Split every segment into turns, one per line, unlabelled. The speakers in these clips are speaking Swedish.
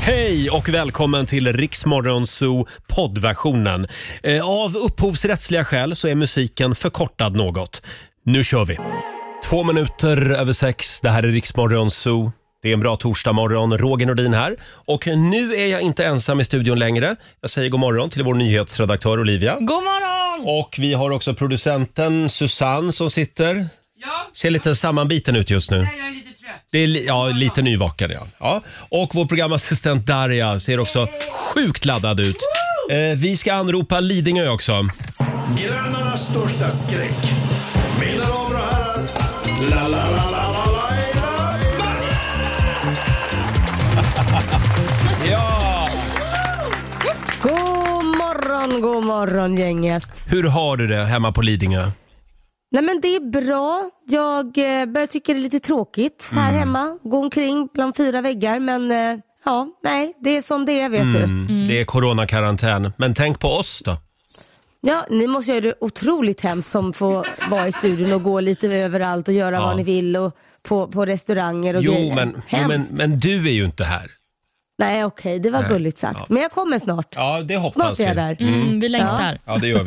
Hej och välkommen till Riksmorgon Zoo poddversionen. Eh, Av upphovsrättsliga skäl så är musiken förkortad något. Nu kör vi! Två minuter över sex, det här är Riksmorgon Zoo. Det är en bra torsdagmorgon, Roger Nordin här. Och nu är jag inte ensam i studion längre. Jag säger god morgon till vår nyhetsredaktör Olivia.
God morgon!
Och vi har också producenten Susanne som sitter. Ser lite sammanbiten ut just nu.
Jag är lite trött.
Det är li- ja, lite nyvaken. Ja. Ja. Och vår programassistent Darja ser också sjukt laddad ut. Eh, vi ska anropa Lidingö också.
Grannarnas största skräck. Mina damer och herrar. La, la, la, la, la, la, la, la.
Ja!
God morgon, god morgon gänget.
Hur har du det hemma på Lidingö?
Nej men det är bra. Jag eh, börjar tycka det är lite tråkigt här
Mm.
hemma. Gå omkring bland fyra väggar men eh, ja, nej, det är som det är vet du.
Det är coronakarantän. Men tänk på oss då.
Mm. Ja, ni måste göra det otroligt hemskt som får vara i studion och gå lite överallt och göra
Ja. vad
vad
ni
ni vill och på, på restauranger och
Jo,
grejer.
men, jo, men, men du är ju inte här.
Nej okej, det var gulligt sagt.
Ja.
Men jag kommer snart.
Ja, det hoppas
Snart är
vi.
jag där.
Mm, vi längtar.
Ja, det gör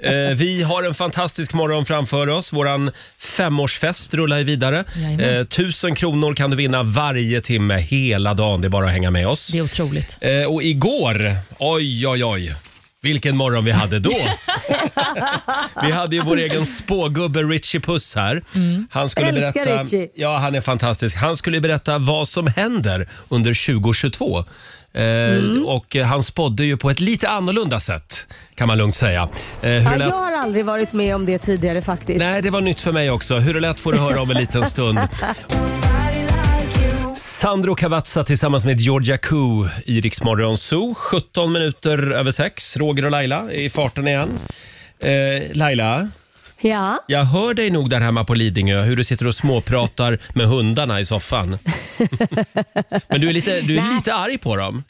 vi. Eh, vi har en fantastisk morgon framför oss. Vår femårsfest rullar ju vidare. Eh,
Jajamän.
Tusen kronor kan du vinna varje timme hela dagen. Det är bara att hänga med oss.
Det är otroligt.
Eh, och igår, oj, oj, oj. Vilken morgon vi hade då! vi hade ju vår egen spågubbe Richie Puss här. Han skulle
Mm. Älskar
berätta,
Richie.
ja han är fantastisk. Han skulle berätta vad som händer under 2022. Eh,
Mm.
Och eh, han spådde ju på ett lite annorlunda sätt, kan man lugnt säga. Eh, hur
Ja,
det lät-
jag har aldrig varit med om det tidigare faktiskt.
Nej, det var nytt för mig också. Hur det lät får du höra om en liten stund. Sandro Cavazza tillsammans med Georgia Koo i Rix Morgon Zoo. 17 minuter över sex. Roger och Laila är i farten igen. Eh, Laila,
Ja.
jag hör dig nog där hemma på Lidingö hur du sitter och småpratar med hundarna i soffan. Men du är, lite, du är lite arg på dem.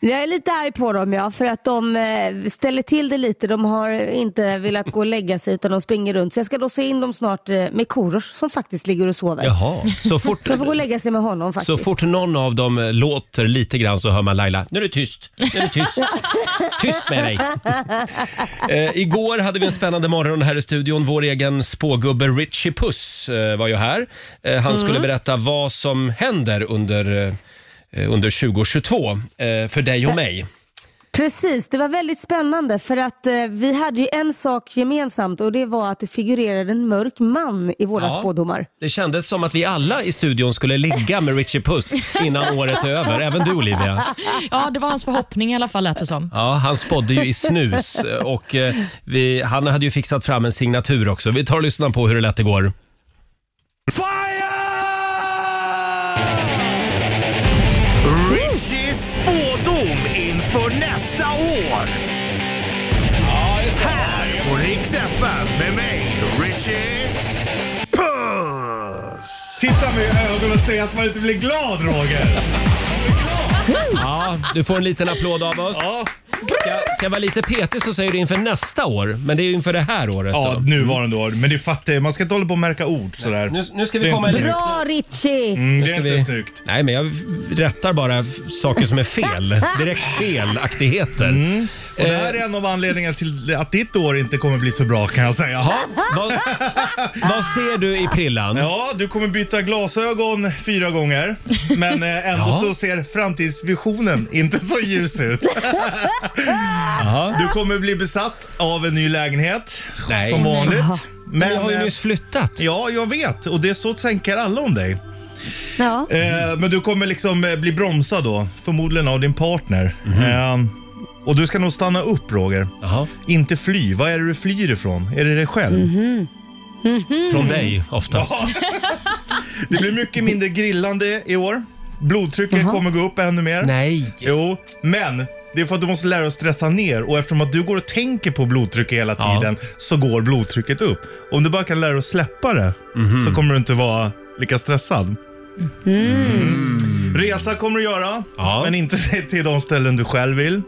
Jag är lite arg på dem ja, för att de eh, ställer till det lite. De har inte velat gå och lägga sig utan de springer runt. Så jag ska låsa in dem snart eh, med Korosh som faktiskt ligger och sover.
Jaha, så fort,
Så de får gå och lägga sig med honom faktiskt.
så fort någon av dem eh, låter lite grann så hör man Laila, nu är du tyst, nu är du tyst, tyst med dig. eh, igår hade vi en spännande morgon här i studion. Vår egen spågubbe Richie Puss eh, var ju här. Eh, han skulle berätta vad som händer under, eh, under 2022 eh, för dig och mig.
Precis, det var väldigt spännande för att eh, vi hade ju en sak gemensamt och det var att det figurerade en mörk man i våra
Ja.
spådomar.
Det kändes som att vi alla i studion skulle ligga med Richie Puss innan året är över, även du Olivia.
Ja, det var hans förhoppning i alla fall lät det som.
Ja, han spådde ju i snus och eh, vi, han hade ju fixat fram en signatur också. Vi tar och lyssnar på hur det lät igår.
Fire! Richies spådom inför nästa år. Här på Rix FM med mig, Richie Puss. Titta mig i ögonen och säg att man inte blir glad, Roger.
Ja, du får en liten applåd av oss. Ska, ska jag vara lite petig så säger du inför nästa år, men det är ju inför det här året
Ja,
då.
nuvarande år. Men du fattar ju, man ska inte hålla på och märka ord sådär.
Nu, nu ska vi
Det är
komma...
inte
en-
Bra Richie!
Mm,
nu
det
ska
är inte
vi-
snyggt.
Nej, men jag rättar bara f- saker som är fel. Direkt felaktigheter.
Och det här är en av anledningarna till att ditt år inte kommer bli så bra kan jag säga.
Ja, vad, vad ser du i prillan?
Ja, du kommer byta glasögon fyra gånger, men eh, ändå
Ja.
så ser framtidsvisionen inte så ljus ut. Du kommer bli besatt av en ny lägenhet,
Nej.
som vanligt. Men,
Jag har ju
eh,
nyss flyttat.
Ja, jag vet. Och det är så tänker alla om dig.
Ja.
Eh, men du kommer liksom eh, bli bromsad då, förmodligen av din partner.
Mhm.
Eh, och du ska nog stanna upp Roger.
Jaha.
Inte fly. Vad är det du flyr ifrån? Är det dig själv? Mm.
Från dig oftast.
Det blir mycket mindre grillande i år. Blodtrycket kommer gå upp ännu mer.
Nej.
Jo, men det är för att du måste lära dig att stressa ner och eftersom att du går och tänker på blodtrycket hela
Ja.
tiden så går blodtrycket upp. Om du bara kan lära dig att släppa det
Mhm.
så kommer du inte vara lika stressad. Mm. Resa kommer du göra,
Mhm. Ja.
men inte till de ställen du själv vill.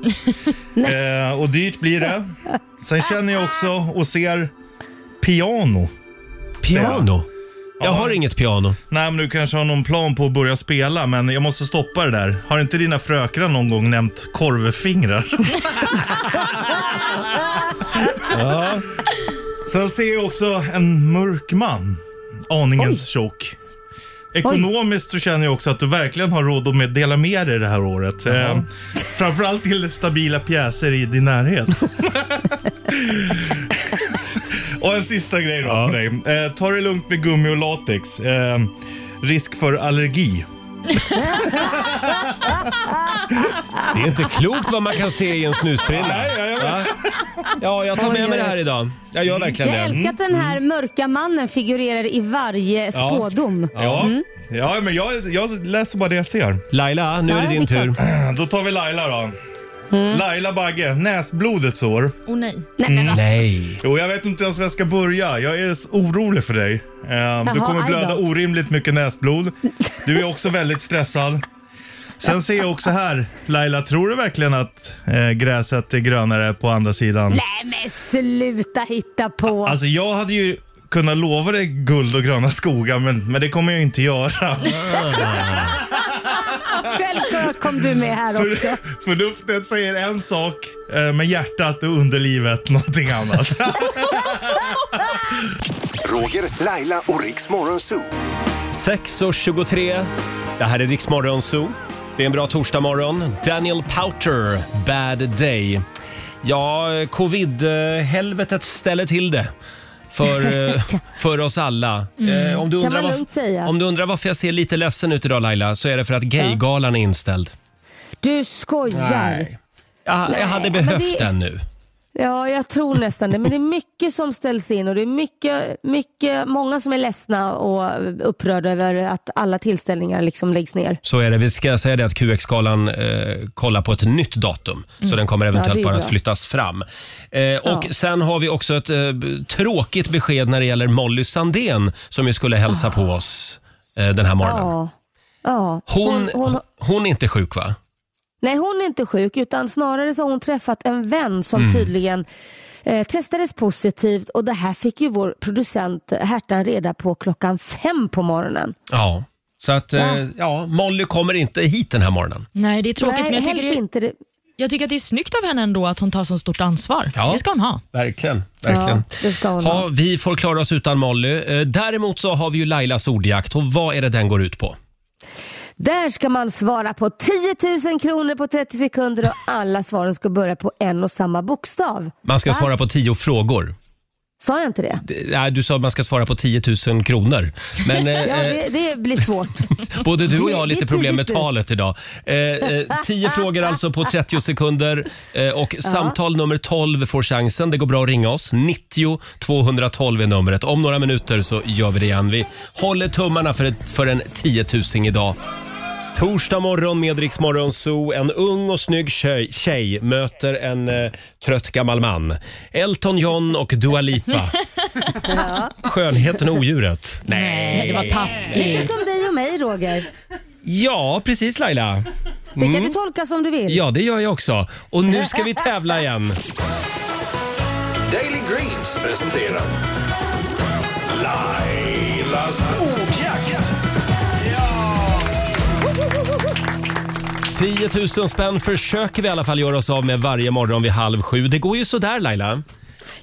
eh, och dyrt blir det. Sen känner jag också och ser piano.
Piano. Jag har inget piano.
Nej, men du kanske har någon plan på att börja spela, men jag måste stoppa det där. Har inte dina frökrar någon gång nämnt korvfingrar?
Ja.
Sen ser jag också en mörk man. Aningens tjock. Ekonomiskt så känner jag också att du verkligen har råd att med dela med dig det här året. Eh, framförallt till stabila pjäser i din närhet. och en sista grej då på dig. Eh, ta det lugnt med gummi och latex. Eh, risk för allergi.
Det är inte klokt vad man kan se i en snusprilla.
Nej, jag,
Va? Ja, jag tar med mig det här idag. Jag gör verkligen
Jag
det.
älskar att den här
Mm.
mörka mannen figurerar i varje spådom.
ja. ja, men jag, jag läser bara det jag ser.
Laila, nu är det
Ja,
din
det är
tur.
Då tar vi Laila då.
Mm.
Laila Bagge, näsblodets år.
Åh nej.
Nej.
Jo, jag vet inte ens var jag ska börja. Jag är så orolig för dig. Ehm, du kommer
aj
blöda
då.
orimligt mycket näsblod. Du är också väldigt stressad. Sen ser jag också här, Laila, tror du verkligen att eh, gräset är grönare på andra sidan?
Nej men sluta hitta på.
Alltså jag hade ju kunnat lova dig guld och gröna skogar, men, men det kommer jag ju inte göra.
Alltså-
Självklart kom du med här också.
För, förnuftet säger en sak, eh, men hjärtat och underlivet någonting annat.
Roger, Laila och Riks Morgonzoo.
6.23. Det här är Riksmorgon Zoo. Det är en bra torsdagmorgon. Daniel Powter, Bad Day. Ja, covid-helvetet ställer till det. För, eh, för oss alla. Eh, Om, du
Mm. Kan
undrar
man lugnt säga.
om du undrar varför jag ser lite ledsen ut idag Laila, så är det för att Gaygalan är inställd.
Du skojar.
Jag, jag hade
Nej, men
behövt
det-
den nu.
Ja, jag tror nästan det. Men det är mycket som ställs in och det är mycket, mycket, många som är ledsna och upprörda över att alla tillställningar liksom läggs ner.
Så är det. Vi ska säga det att QX-galan eh, kollar på ett nytt datum. Så den kommer
Mm. Ja,
eventuellt
det är
bara
bra.
att flyttas fram. Eh, och Sen har vi också ett eh, b- tråkigt besked när det gäller Molly Sandén som ju skulle hälsa på oss eh, den här morgonen.
Ja. ja.
Hon, hon, är inte sjuk va?
nej, hon är inte sjuk utan snarare så har hon träffat en vän som tydligen eh, testades positivt och det här fick ju vår producent Hertan reda på klockan fem på morgonen.
Ja. Så att, eh,
Ja.
ja, Molly kommer inte hit den här morgonen.
Nej, det är tråkigt
nej,
men jag
helst
tycker, det,
inte det.
jag tycker att det är snyggt av henne ändå att hon tar så stort ansvar.
Ja.
Det ska hon ha.
Verkligen. verkligen.
Ja, det ska hon
ja,
ha.
vi får klara oss utan Molly. Eh, däremot så har vi ju Lailas ordjakt och vad är det den går ut på?
Där ska man svara på 10 000 kronor på 30 sekunder och alla svaren ska börja på en och samma bokstav.
Man ska
Va?
svara på tio frågor.
Sa jag inte det?
Nej, du sa att man ska svara på 10 000 kronor. Men eh,
Ja,
eh,
det, det blir svårt.
både du och jag har
det är
lite problem med
10 000.
talet idag. 10 frågor alltså på 30 sekunder eh, och samtal nummer 12 får chansen. Det går bra att ringa oss. 90 212 är numret. Om några minuter så gör vi det igen. Vi håller tummarna för, ett, för en 10 000 idag. Torsdag morgon med Rix Morgon Zoo. En ung och snygg tjej, tjej möter en eh, trött gammal man. Elton John och Dua Lipa. Skönheten och odjuret.
Nej, det var
Lite
taskigt.
som dig och mig Roger.
Ja, precis Laila.
Det kan du tolka som du vill.
Ja, det gör jag också. Och nu ska vi tävla igen.
Daily Greens presenterar Lailas ordjakt.
10 000 spänn försöker vi i alla fall göra oss av med varje morgon vid halv sju. Det går ju sådär Laila.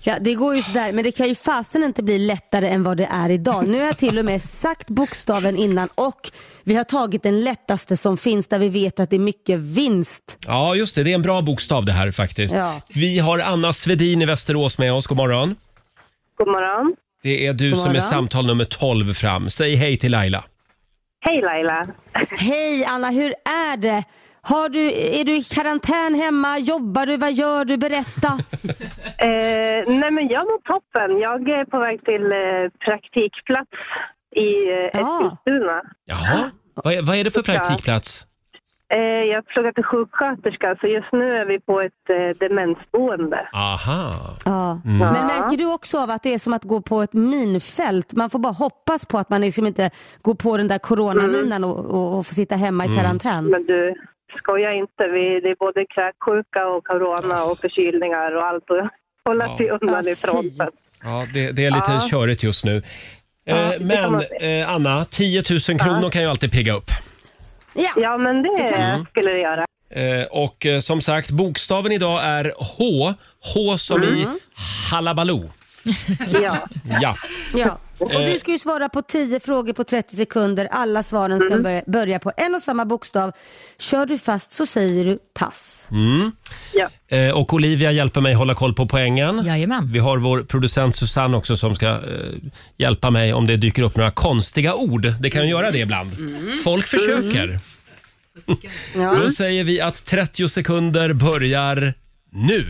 Ja, det går ju sådär, men det kan ju fasen inte bli lättare än vad det är idag. Nu har jag till och med sagt bokstaven innan och vi har tagit den lättaste som finns där vi vet att det är mycket vinst.
Ja, just det. Det är en bra bokstav det här faktiskt.
Ja.
Vi har Anna Svedin i Västerås med oss. God morgon.
God morgon.
Det är du som är
morgon.
samtal nummer 12 fram. Säg hej till Laila.
Hej Laila.
Hej Anna, hur är det? Har du, är du i karantän hemma? Jobbar du? Vad gör du? Berätta.
Eh, nej men jag mår toppen. Jag är på väg till eh, praktikplats i
Ja.
eh, Eskilstuna.
Jaha, vad är, vad är det för praktikplats?
Eh, jag pluggar till sjuksköterska så just nu är vi på ett eh, demensboende.
Aha.
Ja. Men märker du också av att det är som att gå på ett minfält? Man får bara hoppas på att man liksom inte går på den där coronaminan och, och, och får sitta hemma i karantän.
Men du, skoja inte. Vi, det är både kräksjuka och corona och förkylningar och allt. Och hålla sig undan
Ah,
ifrån.
fy.
Så att-
Ja, det, det är lite körigt just nu. Eh,
det kan
men
man se.
eh, Anna, 10 000 kronor kan ju alltid pigga upp.
Ja.
Ja, men det,
Det kan-
skulle det göra.
Eh, och eh, som sagt, bokstaven idag är H. H som i
Mm.
Hallabaloo.
Ja.
Ja.
Ja. Eh. Och du ska ju svara på 10 frågor på 30 sekunder. Alla svaren ska börja, börja på en och samma bokstav. Kör du fast så säger du pass.
ja.
Eh, och Olivia hjälper mig hålla koll på poängen.
Jajamän.
Vi har vår producent Susanne också som ska eh, hjälpa mig om det dyker upp några konstiga ord. Det kan ju göra det ibland.
Mm.
Folk försöker.
Ja. Mm.
Då säger vi att 30 sekunder börjar nu.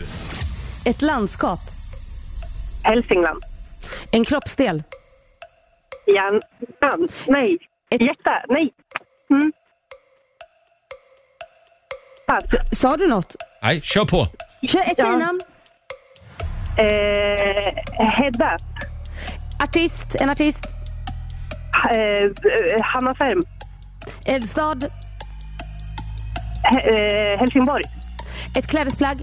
Ett landskap.
Hälsingland.
En kroppsdel.
Hjärnan. Nej.
Ett-
Hjärta. Nej. Mm. Pass.
Sa du något?
Nej, kör på.
Kör ett
Ja.
tjejnamn.
Eh, Hedda.
Artist. En artist.
Eh, Hanna Ferm.
Eldstad.
Eh, Helsingborg.
Ett klädesplagg.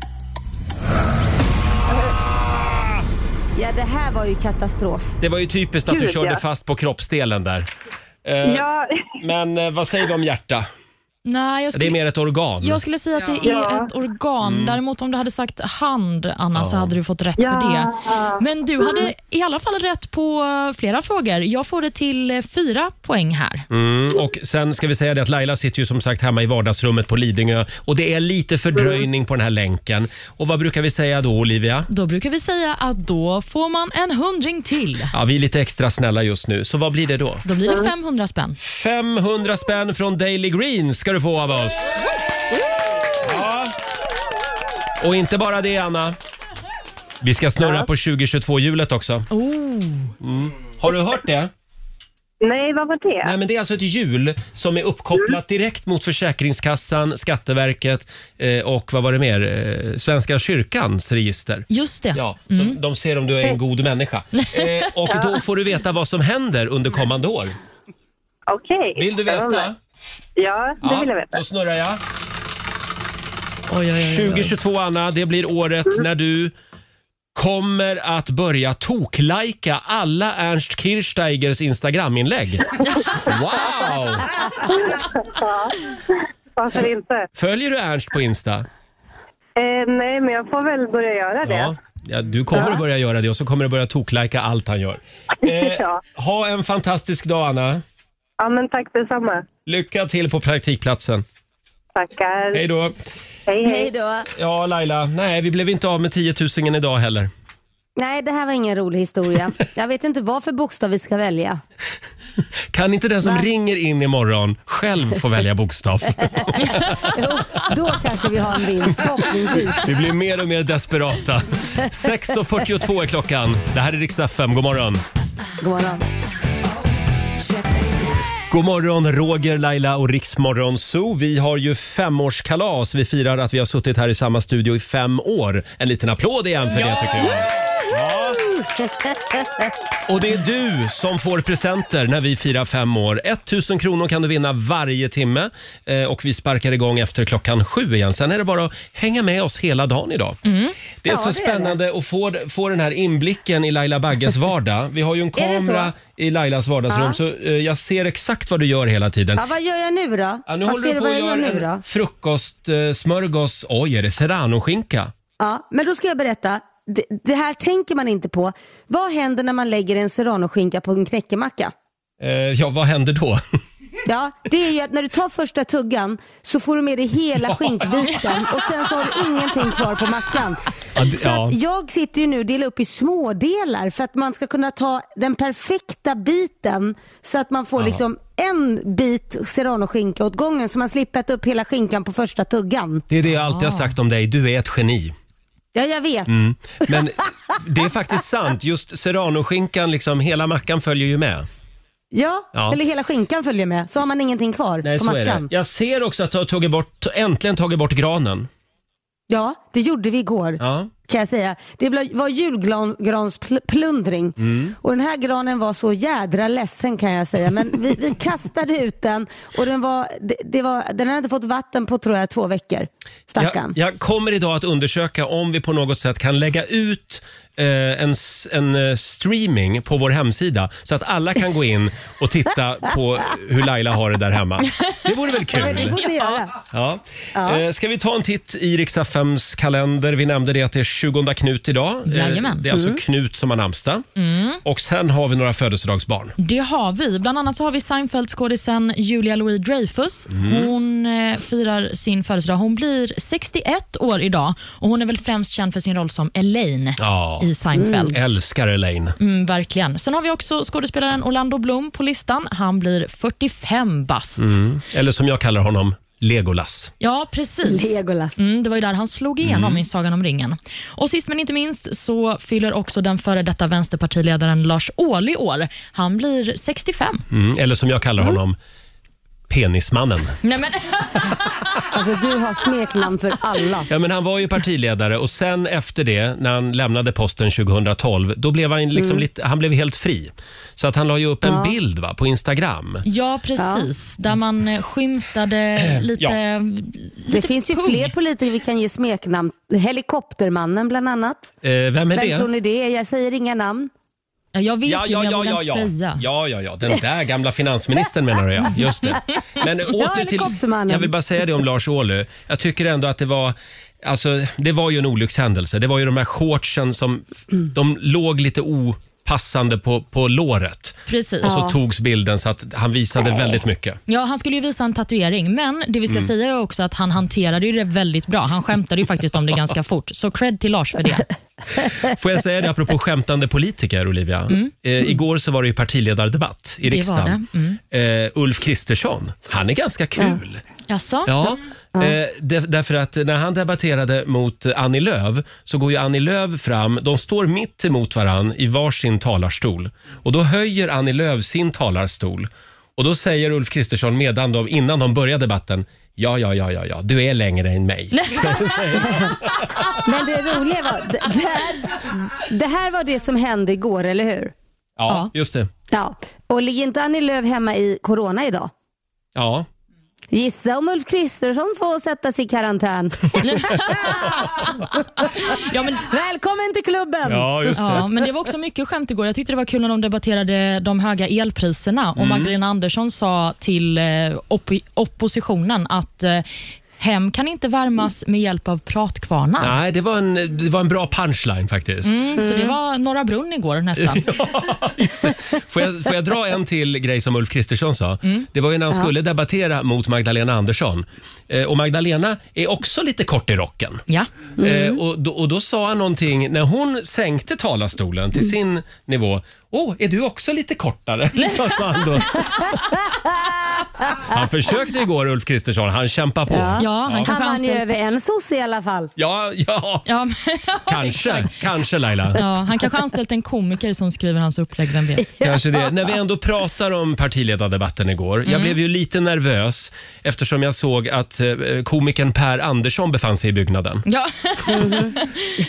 Ja, det här var ju katastrof.
Det var ju typiskt att du
Gud,
körde
ja.
fast på kroppsdelen där. Eh,
Ja,
Men eh, vad säger vi om hjärta?
Nej, jag
Det är Mm.
skulle,
mer ett organ.
jag skulle säga att det är
Ja.
ett organ. Däremot om du hade sagt hand, Anna, så hade du fått rätt
Ja.
för det. Men du hade i alla fall rätt på eh, flera frågor. Jag får det till eh, fyra poäng här.
Mm, och sen ska vi säga det att Laila sitter ju som sagt hemma i vardagsrummet på Lidingö och det är lite
Mm.
fördröjning på den här länken. Och vad brukar vi säga då Olivia?
Då brukar vi säga att då får man en hundring till.
Ja, vi är lite extra snälla just nu, så vad blir det då?
Då blir det 500 spänn.
500 spänn från Daily Green ska du få av oss. Ja. Och inte bara det, Anna. Vi ska snurra på 2022-hjulet också. Mm. Har du hört det?
nej, vad var det?
Nej, men det är alltså ett hjul som är uppkopplat direkt mot Försäkringskassan, Skatteverket eh, och vad var det mer? Eh, Svenska kyrkans register.
Just det.
Ja, så
Mm.
De ser om du är en god människa. Eh, och Då får du veta vad som händer under kommande år.
Okej.
Vill du veta?
Spännande. Ja, det vill jag veta.
Då snurrar jag.
Oj, oj, oj, oj.
2022, Anna, det blir året när du kommer att börja toklajka alla Ernst Kirchsteigers Instagraminlägg. Wow!
Varför inte?
Följer du Ernst på Insta?
Eh, nej, men jag får väl börja göra det.
Ja. Ja, du kommer att börja göra det och så kommer du börja toklajka allt han gör. Eh,
Ja.
ha en fantastisk dag, Anna.
Ja, men tack detsamma.
Lycka till på praktikplatsen.
Tackar.
Hej då.
hej. hej.
Hej då.
Ja, Laila. Nej, vi blev inte av med 10 000 idag heller.
Nej, det här var ingen rolig historia. Jag vet inte vad för bokstav vi ska välja.
Kan inte den som
Nej.
ringer in imorgon själv få välja bokstav?
Jo, då kanske vi har en vinst, förhoppningsvis.
Vi blir mer och mer desperata. 6.42 är klockan. Det här är riksdag 5. God morgon!
God morgon.
God morgon, Roger, Laila och Riksmorgon Zoo. Vi har ju femårskalas. Vi firar att vi har suttit här i samma studio i fem år. En liten applåd igen för det tycker jag. Ja. Och det är du som får presenter när vi firar fem år. 1000 kronor kan du vinna varje timme. Eh, Och vi sparkar igång efter klockan sju igen. Sen är det bara att hänga med oss hela dagen idag. Det är
Mm. Ja,
så
det är det.
spännande att få, få den här inblicken i Laila Bagges vardag. Vi har ju en
Är det så?
kamera i Lailas vardagsrum
Ja.
så eh, jag ser exakt vad du gör hela tiden.
Ja, vad gör jag nu då?
Ja, nu
vad
håller
ser
du på
vad
att
jag gör
göra
nu då?
en frukost, eh, smörgås, oj är det serranoskinka?
Ja, men då ska jag berätta. Det, det här tänker man inte på. Vad händer när man lägger en serranoskinka på en knäckemacka?
Eh, ja, vad händer då?
Ja, det är ju att när du tar första tuggan så får du med dig hela skinkbiten och sen så har du ingenting kvar på mackan.
Ja, det-
Så
ja.
att jag sitter ju nu och delar upp i smådelar för att man ska kunna ta den perfekta biten så att man får liksom en bit serranoskinka åt gången så man slipper äta upp hela skinkan på första tuggan.
Det är det jag alltid har sagt om dig, du är ett geni.
Ja, jag vet.
Mm. Men det är faktiskt sant, just serranoskinkan, liksom, hela mackan följer ju med.
Ja,
Ja.
eller hela skinkan följer med så har man ingenting kvar
Nej,
på
så är
mackan.
det. Jag ser också att du har tagit bort, äntligen tagit bort granen.
Ja, det gjorde vi igår.
Ja.
kan jag säga. Det blev- var julgransplundring
Mm.
och den här granen var så jädra ledsen kan jag säga. Men vi, vi kastade ut den och den, var, det, det var, den hade inte fått vatten på tror jag två veckor. Stackarn.
Jag, jag kommer idag att undersöka om vi på något sätt kan lägga ut eh, en, s- en eh, streaming på vår hemsida så att alla kan gå in och titta på hur Laila har det där hemma. Det vore väl
Ja, men det
kul?
borde göra.
Ja. Eh, ska vi ta en titt i Riks-FMs kalender? Vi nämnde det att det är 20 Knut idag. Eh,
Jajamän.
Det är alltså Knut som har namnsdag. Och sen har vi några födelsedagsbarn.
Det har vi. Bland annat så har vi Seinfeld-skådisen Julia Louis-Dreyfus.
Mm.
Hon eh, firar sin födelsedag. Hon blir 61 år idag och hon är väl främst känd för sin roll som Elaine
Ja.
i Seinfeld.
Älskar Elaine.
Mm, verkligen. Sen har vi också skådespelaren Orlando Bloom på listan. Han blir 45 bast.
Mm. Eller som jag kallar honom, Legolas.
Ja, precis.
Legolas.
Mm, det var ju där han slog igenom
Mm.
i Sagan om ringen. Och Sist men inte minst så fyller också den före detta vänsterpartiledaren Lars Ohly år. Han blir 65.
Mm. Eller som jag kallar honom, Penismannen.
Nej, men,
Alltså du har smeknamn för alla.
Ja, men han var ju partiledare och sen efter det, när han lämnade posten 2012, då blev han, liksom lite, han blev helt fri. Så att han la ju upp en bild va, på Instagram. Eh,
ja, precis. Där man eh, skymtade lite...
Ja.
Det finns ju fler politiker vi kan ge smeknamn. Helikoptermannen bland annat.
Eh, vem är
Vem
det?
tror ni det är? Jag säger inga namn.
Ja, Jag vet
Ja,
ju,
ja,
men jag
ja,
vågar
ja,
inte
ja.
säga.
ja, ja, ja. Den där gamla finansministern menar jag. Just det. Men åter till...
helikoptermannen.
Jag vill bara säga det om Lars Ohly. Jag tycker ändå att det var... Alltså, det var ju en olyckshändelse. Det var ju de här shortsen som... De låg lite opassande på, på låret.
Precis.
Och så togs bilden så att han visade väldigt mycket.
Ja, han skulle ju visa en tatuering, men det vi
Mm.
ska säga är också att han hanterade ju det väldigt bra. Han skämtade ju faktiskt om det ganska fort, så cred till Lars för det.
Får jag säga det apropå skämtande politiker, Olivia? Eh, igår så var det ju partiledardebatt i riksdagen. Eh, Ulf Kristersson, han är ganska kul.
Jaså?
Ja, eh, det- därför att när han debatterade mot Annie Lööf så går ju Annie Lööf fram, de står mitt emot varann i varsin talarstol och då höjer Annie Lööf sin talarstol och då säger Ulf Kristersson medan de, innan de börjar debatten Ja, ja, ja, ja, ja, du är längre än mig.
Men det roliga var, det det här, det här var det som hände igår, eller hur?
Ja, just det.
Ja. Och ligger inte Annie Lööf hemma i corona idag?
Ja.
Gissa om Ulf Kristersson får sätta sig i karantän.
Ja, men
Välkommen till klubben!
ja, just
Ja, men det var också mycket skämt igår. Jag tyckte det var kul när de debatterade de höga elpriserna
Mm.
och Magdalena Andersson sa till eh, oppo- oppositionen att eh, hem kan inte värmas med hjälp av pratkvarnar.
Nej, det var en, det var en bra punchline faktiskt.
Mm, Så det var Norra Brunn igår nästan.
Får jag, får jag dra en till grej som Ulf Kristersson sa? Det var ju när han skulle debattera mot Magdalena Andersson. Eh, och Magdalena är också lite kort i rocken.
Ja.
Eh, och, då, och då sa han någonting, när hon sänkte talarstolen till sin nivå. Åh, är du också lite kortare? Så sa han, då. han försökte igår Ulf Kristersson, han kämpar på.
Ja.
Ja, han
Han
kanske
vann ju
anställt...
över en sosse i alla fall.
Ja, ja,
Ja, men,
kanske, kanske Laila.
ja, han kanske anställt en komiker som skriver hans upplägg, vem vet?
Kanske det. När vi ändå pratar om partiledardebatten igår.
Mm.
Jag blev ju lite nervös eftersom jag såg att eh, komikern Per Andersson befann sig i byggnaden.
Ja.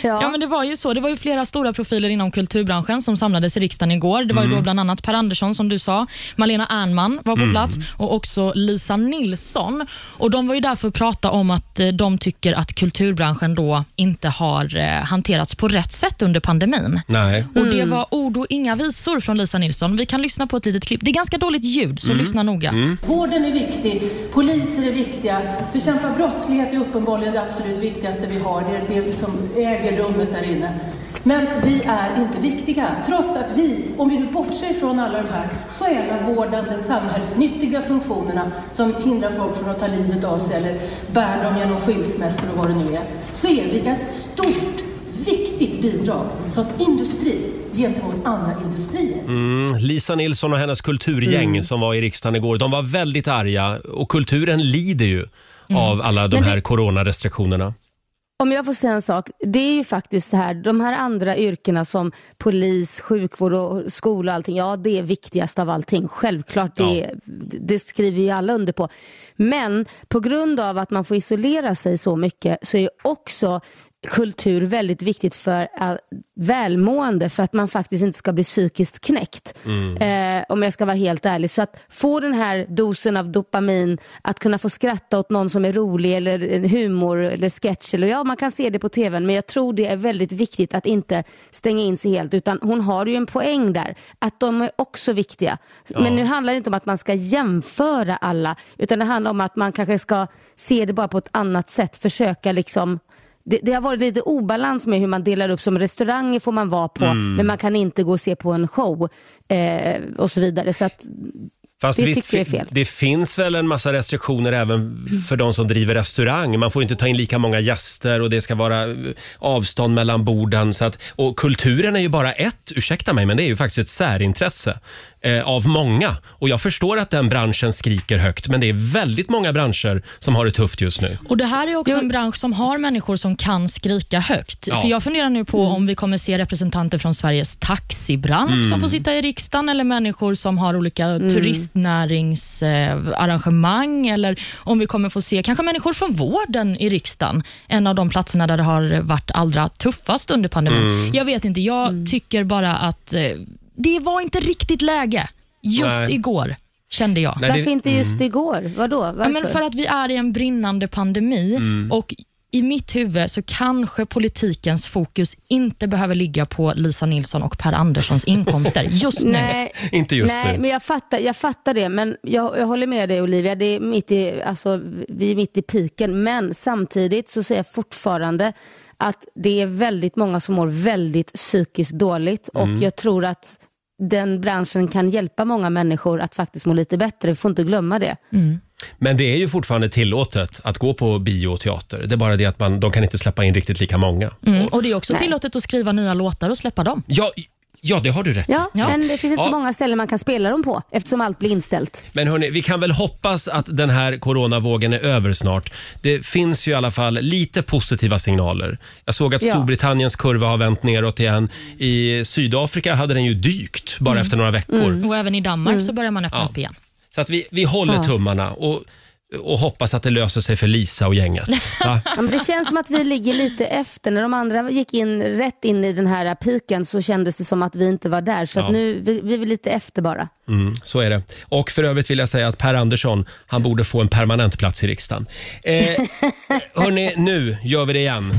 Ja.
Ja, men det var ju så. Det var ju flera stora profiler inom kulturbranschen som samlades i riksdagen igår. Det var ju då bland annat Per Andersson, som du sa, Malena Ernman var på plats och också Lisa Nilsson. Och De var ju där för att prata om att eh, de tycker att kulturbranschen då inte har eh, hanterats på rätt sätt under pandemin.
Nej.
Och Det var ord och inga visor från Lisa Nilsson. Vi kan lyssna på ett litet klipp. Det är ganska dåligt ljud, så lyssna noga.
Vården är viktig, poliser är viktiga, bekämpa brottslighet är uppenbarligen det absolut viktigaste vi har. Det är det som äger rummet där inne. Men vi är inte viktiga, trots att vi, om vi nu bortser från alla de här själavårdande samhällsnyttiga funktionerna som hindrar folk från att ta livet av sig eller bär dem genom skilsmässor och vad det nu är, så är vi ett stort, viktigt bidrag som industri gentemot andra industrier.
Mm, Lisa Nilsson och hennes kulturgäng
Mm.
som var i riksdagen igår, de var väldigt arga och kulturen lider ju av alla de
Mm. Men det-
här coronarestriktionerna.
Om jag får säga en sak. Det är ju faktiskt så här, de här andra yrkena som polis, sjukvård och skola och allting. Ja, det är viktigast av allting. Självklart, det,
Ja.
det skriver ju alla under på. Men på grund av att man får isolera sig så mycket så är ju också kultur väldigt viktigt för all- välmående för att man faktiskt inte ska bli psykiskt knäckt. Eh, om jag ska vara helt ärlig. Så att få den här dosen av dopamin, att kunna få skratta åt någon som är rolig eller en humor eller sketch. Eller, ja, man kan se det på tvn men jag tror det är väldigt viktigt att inte stänga in sig helt utan hon har ju en poäng där. Att de är också viktiga. Men nu handlar det inte om att man ska jämföra alla utan det handlar om att man kanske ska se det bara på ett annat sätt. Försöka liksom det, det har varit lite obalans med hur man delar upp, som restauranger får man vara på, men man kan inte gå och se på en show eh, och så vidare. Så att,
Fast
Det
visst,
tycker jag är fel.
det finns väl en massa restriktioner även för de som driver restaurang. Man får inte ta in lika många gäster och det ska vara eh, avstånd mellan borden. Så att, och kulturen är ju bara ett, ursäkta mig, men det är ju faktiskt ett särintresse eh, av många. Och jag förstår att den branschen skriker högt, men det är väldigt många branscher som har det tufft just nu.
Och Det här är också en bransch som har människor som kan skrika högt.
Ja. Mm.
För Jag funderar nu på om vi kommer se representanter från Sveriges taxibransch som får sitta i riksdagen eller människor som har olika
Mm.
turistnäringsarrangemang eh, arrangemang, eller om vi kommer få se kanske människor från vården i riksdagen. En av de platserna där det har varit allra tuffast under pandemin.
Mm.
Jag vet inte, jag tycker bara att eh, det var inte riktigt läge just
Nej.
igår, kände jag.
Nej,
varför
det,
inte just igår? Vadå?
Ja,
Varför?
men för att vi är i en brinnande pandemi
Mm.
och i mitt huvud så kanske politikens fokus inte behöver ligga på Lisa Nilsson och Per Anderssons inkomster just nu.
Nej,
inte just
nej
nu.
men jag fattar, jag fattar det. Men jag, jag håller med dig Olivia, det är mitt i, alltså, vi är mitt i piken. Men samtidigt så säger jag fortfarande att det är väldigt många som mår väldigt psykiskt dåligt och
Mm.
jag tror att den branschen kan hjälpa många människor att faktiskt må lite bättre. Vi får inte glömma det.
Men det är ju fortfarande tillåtet att gå på bio och teater. Det är bara det att man, de kan inte släppa in riktigt lika många.
Mm. Och Det är också tillåtet att skriva nya låtar och släppa dem.
Ja, ja det har du rätt i.
Ja,
Ja.
men det finns inte
Ja.
så många ställen man kan spela dem på eftersom allt blir inställt.
Men hörni, vi kan väl hoppas att den här coronavågen är över snart. Det finns ju i alla fall lite positiva signaler. Jag såg att
Ja.
Storbritanniens kurva har vänt neråt igen. I Sydafrika hade den ju dykt bara efter några veckor.
Och Även i Danmark
Mm.
så börjar man öppna
Ja.
upp igen.
Så att vi, vi håller tummarna och, och hoppas att det löser sig för Lisa och gänget. Va?
Ja, men det känns som att vi ligger lite efter. När de andra gick in rätt in i den här piken så kändes det som att vi inte var där. Så
Ja.
att nu, vi, vi är lite efter bara.
Mm, så är det. Och för övrigt vill jag säga att Per Andersson, han borde få en permanent plats i riksdagen. Eh, hörni, nu gör vi det igen.